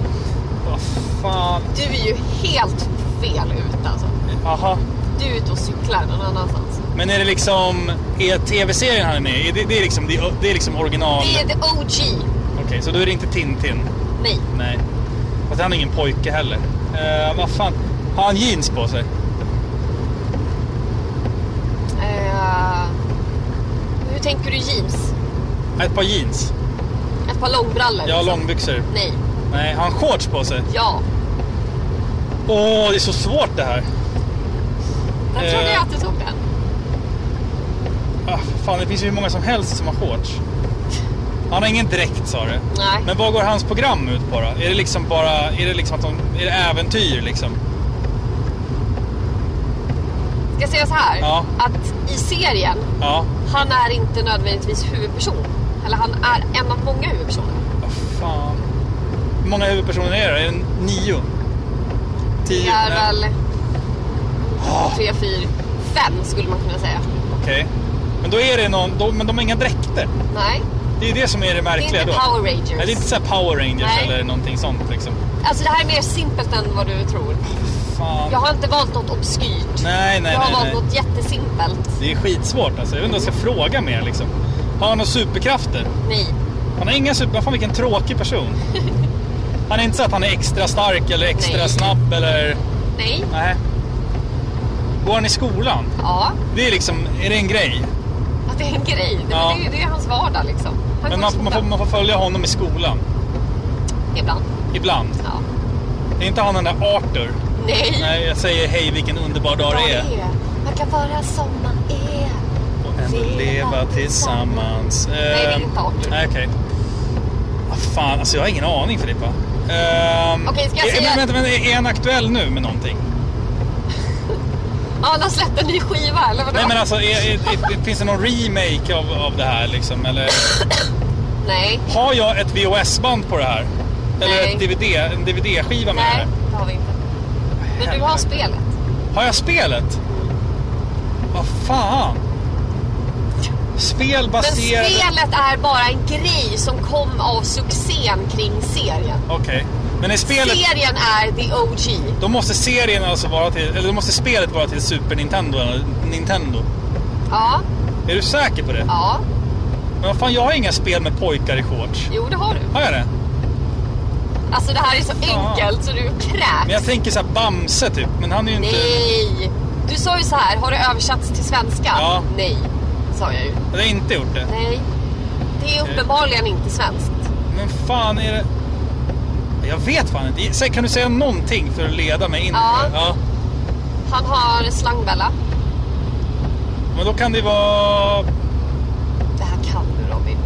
Speaker 2: Vad fan.
Speaker 1: du är ju helt fel ute alltså.
Speaker 2: Aha.
Speaker 1: Du är ute och cyklar någon annanstans.
Speaker 2: Men är det liksom, är tv-serien han är med i? Det, det, är liksom, det, är- det är liksom original.
Speaker 1: Det är the OG.
Speaker 2: Okej, så då är det inte Tintin?
Speaker 1: Nej,
Speaker 2: Nej. Fast han är ingen pojke heller. Eh, vad fan. Har han jeans på sig?
Speaker 1: Eh, hur tänker du jeans?
Speaker 2: Ett par jeans?
Speaker 1: Ett par långbrallor?
Speaker 2: Jag har
Speaker 1: liksom?
Speaker 2: långbyxor.
Speaker 1: Nej.
Speaker 2: Nej, har han shorts på sig?
Speaker 1: Ja.
Speaker 2: Åh, det är så svårt det här.
Speaker 1: Jag
Speaker 2: Eh.
Speaker 1: trodde jag att du tog den.
Speaker 2: Ah, fan, det finns ju hur många som helst som har shorts. Han har ingen dräkt sa du.
Speaker 1: Nej.
Speaker 2: Men vad går hans program ut på då? Är det liksom bara, är det liksom att de, är det äventyr liksom?
Speaker 1: Ska jag säga så här?
Speaker 2: Ja.
Speaker 1: Att i serien,
Speaker 2: Ja.
Speaker 1: han är inte nödvändigtvis huvudperson. Eller han är en av många huvudpersoner.
Speaker 2: Vad Ah, fan. Hur många huvudpersoner är det? Är det nio? Tio?
Speaker 1: Det är
Speaker 2: Nej.
Speaker 1: väl tre, fyra, fem skulle man kunna säga.
Speaker 2: Okej. Men då är det någon, då, men de har inga dräkter.
Speaker 1: Nej.
Speaker 2: Det är det som är det
Speaker 1: Det är
Speaker 2: märkliga
Speaker 1: inte
Speaker 2: då.
Speaker 1: Power Rangers.
Speaker 2: Nej, det är inte så här Power Rangers
Speaker 1: Nej.
Speaker 2: eller någonting sånt liksom.
Speaker 1: Alltså det här är mer simpelt än vad du tror.
Speaker 2: Fan.
Speaker 1: Jag har inte valt något obskyrt.
Speaker 2: Nej, nej,
Speaker 1: jag har
Speaker 2: nej,
Speaker 1: valt
Speaker 2: nej.
Speaker 1: något jättesimpelt.
Speaker 2: Det är skitsvårt alltså. Jag vet inte om jag ska fråga mer liksom. Har han några superkrafter?
Speaker 1: Nej.
Speaker 2: Han har inga super... Fan vilken tråkig person. Han är inte så att han är extra stark eller extra
Speaker 1: Nej.
Speaker 2: snabb eller...
Speaker 1: Nej.
Speaker 2: Nej. Går han i skolan?
Speaker 1: Ja.
Speaker 2: Det är liksom, är det en grej?
Speaker 1: Att det är en grej. Det,
Speaker 2: Ja.
Speaker 1: det, är- det är hans vardag liksom. Han
Speaker 2: Men
Speaker 1: går i
Speaker 2: man, man, får,
Speaker 1: skolan
Speaker 2: man får följa honom i skolan.
Speaker 1: Ibland.
Speaker 2: Ibland.
Speaker 1: Ja.
Speaker 2: Är inte han den där Arthur?
Speaker 1: Mm. Nej.
Speaker 2: Nej, jag säger hej vilken underbar dag
Speaker 1: Vad
Speaker 2: det är.
Speaker 1: Man kan vara som man är.
Speaker 2: Och ändå leva tillsammans. Ehm,
Speaker 1: Nej, det är inte Arthur.
Speaker 2: Nej, okej. Vad fan, alltså jag har ingen aning Filippa. Ehm,
Speaker 1: Okej, ska jag
Speaker 2: är-
Speaker 1: säga-
Speaker 2: Men, vänta, men är han aktuell nu med någonting?
Speaker 1: Ja, han har släppt en ny skiva eller vadå?
Speaker 2: Nej men alltså, är, är, är, finns det någon remake av, av det här liksom? Eller
Speaker 1: Nej.
Speaker 2: har jag ett VHS-band på det här? Eller
Speaker 1: Nej.
Speaker 2: ett DVD, en DVD-skiva med
Speaker 1: Nej,
Speaker 2: det här?
Speaker 1: det har vi inte. Men du har spelet.
Speaker 2: Har jag spelet? Vad fan? Spel
Speaker 1: Men
Speaker 2: baserat...
Speaker 1: spelet är bara en grej som kom av succén kring serien.
Speaker 2: Okej. Men är spelet...
Speaker 1: Serien är the OG.
Speaker 2: Då måste serien alltså vara till... Eller då måste spelet vara till Super Nintendo eller Nintendo.
Speaker 1: Ja,
Speaker 2: Är du säker på det?
Speaker 1: ja.
Speaker 2: Men vad fan, jag har inga spel med pojkar i shorts.
Speaker 1: Jo, det har du.
Speaker 2: Har jag det?
Speaker 1: Alltså det här är så enkelt så du
Speaker 2: Men jag
Speaker 1: kräks.
Speaker 2: tänker så här Bamse typ, men han är ju inte...
Speaker 1: Nej! Du sa ju så här, har det översatts till svenska?
Speaker 2: Ja.
Speaker 1: Nej, sa jag ju.
Speaker 2: Jag har inte gjort det.
Speaker 1: Nej. Det är
Speaker 2: Eh.
Speaker 1: uppenbarligen inte svenskt.
Speaker 2: Men fan är det... Jag vet fan inte. Säg, Kan du säga någonting för att leda mig in?
Speaker 1: Ja.
Speaker 2: ja.
Speaker 1: Han har slangbella.
Speaker 2: Men då kan det vara...
Speaker 1: Det här kan du Robin.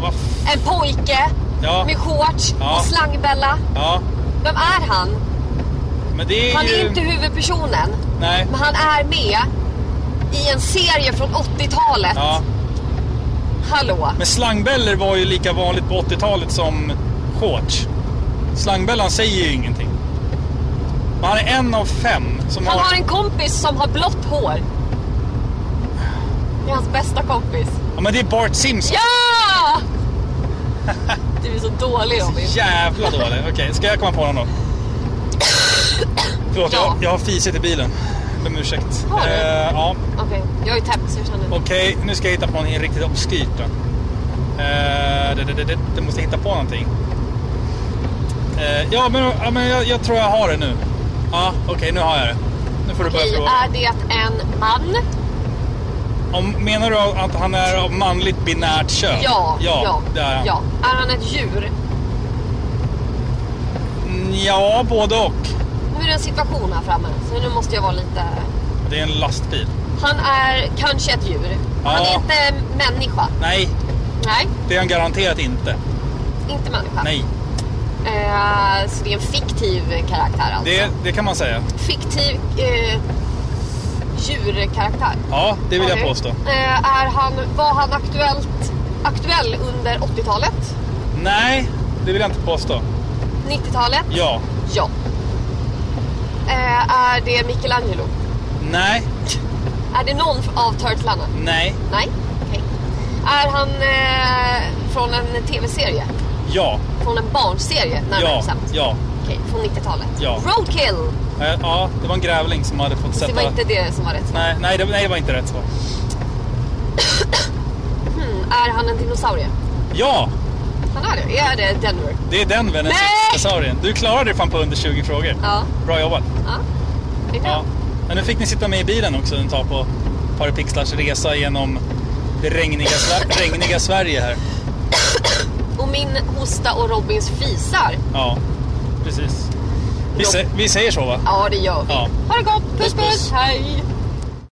Speaker 2: Vad f-
Speaker 1: En pojke
Speaker 2: Ja.
Speaker 1: med shorts
Speaker 2: Ja.
Speaker 1: och slangbella.
Speaker 2: Ja.
Speaker 1: Vem är han?
Speaker 2: Men det är
Speaker 1: Han
Speaker 2: ju...
Speaker 1: är inte huvudpersonen.
Speaker 2: Nej.
Speaker 1: Men han är med i en serie från 80-talet.
Speaker 2: Ja.
Speaker 1: Hallå?
Speaker 2: Men slangbällor var ju lika vanligt på 80-talet som shorts. Slangbällan säger ju ingenting. Men han är en av fem som
Speaker 1: Han har en kompis som har blått hår. Det är hans bästa kompis.
Speaker 2: Ja, men det är Bart Simpson.
Speaker 1: Ja! Du är så dålig Robin.
Speaker 2: Jävla dålig. Okej, ska jag komma på honom då? Förlåt,
Speaker 1: Ja.
Speaker 2: jag, jag har fisit i bilen. Ber om ursäkt.
Speaker 1: Har du?
Speaker 2: Eh, ja.
Speaker 1: Okej, jag är täppt så jag känner inte.
Speaker 2: Okej, nu ska jag hitta på någonting riktigt obskyrt då. Eh, det, det, det, det, det måste jag hitta på någonting. Eh, ja, men, ja, men jag, jag tror jag har det nu. Ja, okej, nu har jag det. Nu får du börja
Speaker 1: Okej,
Speaker 2: fråga.
Speaker 1: är det en man?
Speaker 2: Om, menar du att han är av manligt binärt kön?
Speaker 1: Ja,
Speaker 2: ja.
Speaker 1: ja,
Speaker 2: det är han.
Speaker 1: ja. Är han ett djur?
Speaker 2: Mm, ja, både och.
Speaker 1: Nu är det en situation här framme, så nu måste jag vara lite...
Speaker 2: Det är en lastbil.
Speaker 1: Han är kanske ett djur. Han
Speaker 2: Ja.
Speaker 1: är inte människa.
Speaker 2: Nej,
Speaker 1: Nej,
Speaker 2: det är han garanterat inte.
Speaker 1: inte människa.
Speaker 2: Nej,
Speaker 1: Eh, så det är en fiktiv karaktär alltså.
Speaker 2: det, det kan man säga.
Speaker 1: Fiktiv eh, djurkaraktär.
Speaker 2: Ja, det vill jag
Speaker 1: Okej.
Speaker 2: påstå.
Speaker 1: Eh, är han, var han aktuellt, aktuell under 80-talet?
Speaker 2: Nej, det vill jag inte påstå.
Speaker 1: 90-talet?
Speaker 2: Ja.
Speaker 1: Ja. Eh, är det Michelangelo?
Speaker 2: Nej,
Speaker 1: Är det någon av Turtlarna?
Speaker 2: nej,
Speaker 1: Nej. Okej. Är han eh, från en tv-serie?
Speaker 2: ja,
Speaker 1: Från en barnserie närmare
Speaker 2: ja,
Speaker 1: bestämt?
Speaker 2: ja.
Speaker 1: Okej, från 90-talet.
Speaker 2: Ja.
Speaker 1: Roadkill!
Speaker 2: Eh, Ja, det var en grävling som hade fått
Speaker 1: Så
Speaker 2: sätta...
Speaker 1: det var inte det som var rätt svar.
Speaker 2: nej, nej, det, nej, det var inte rätt svar.
Speaker 1: Mm, är han en dinosaurie?
Speaker 2: Ja,
Speaker 1: Han är det. Är det Denver?
Speaker 2: det är den vännen
Speaker 1: Nej!
Speaker 2: dinosaurien. Du klarade dig fan på under 20 frågor.
Speaker 1: Ja.
Speaker 2: Bra jobbat.
Speaker 1: Ja. Det är bra.
Speaker 2: Ja. Men nu fick ni sitta med i bilen också en tag på Parapixlars resa genom det regniga, Sver- regniga Sverige här.
Speaker 1: Och min hosta och Robins fisar.
Speaker 2: Ja, precis. Vi,
Speaker 1: Ja.
Speaker 2: sä- vi säger så va?
Speaker 1: Ja, det gör vi.
Speaker 2: Ja.
Speaker 1: Ha det gott. Puss,
Speaker 2: Puss, puss.
Speaker 1: puss. Hej.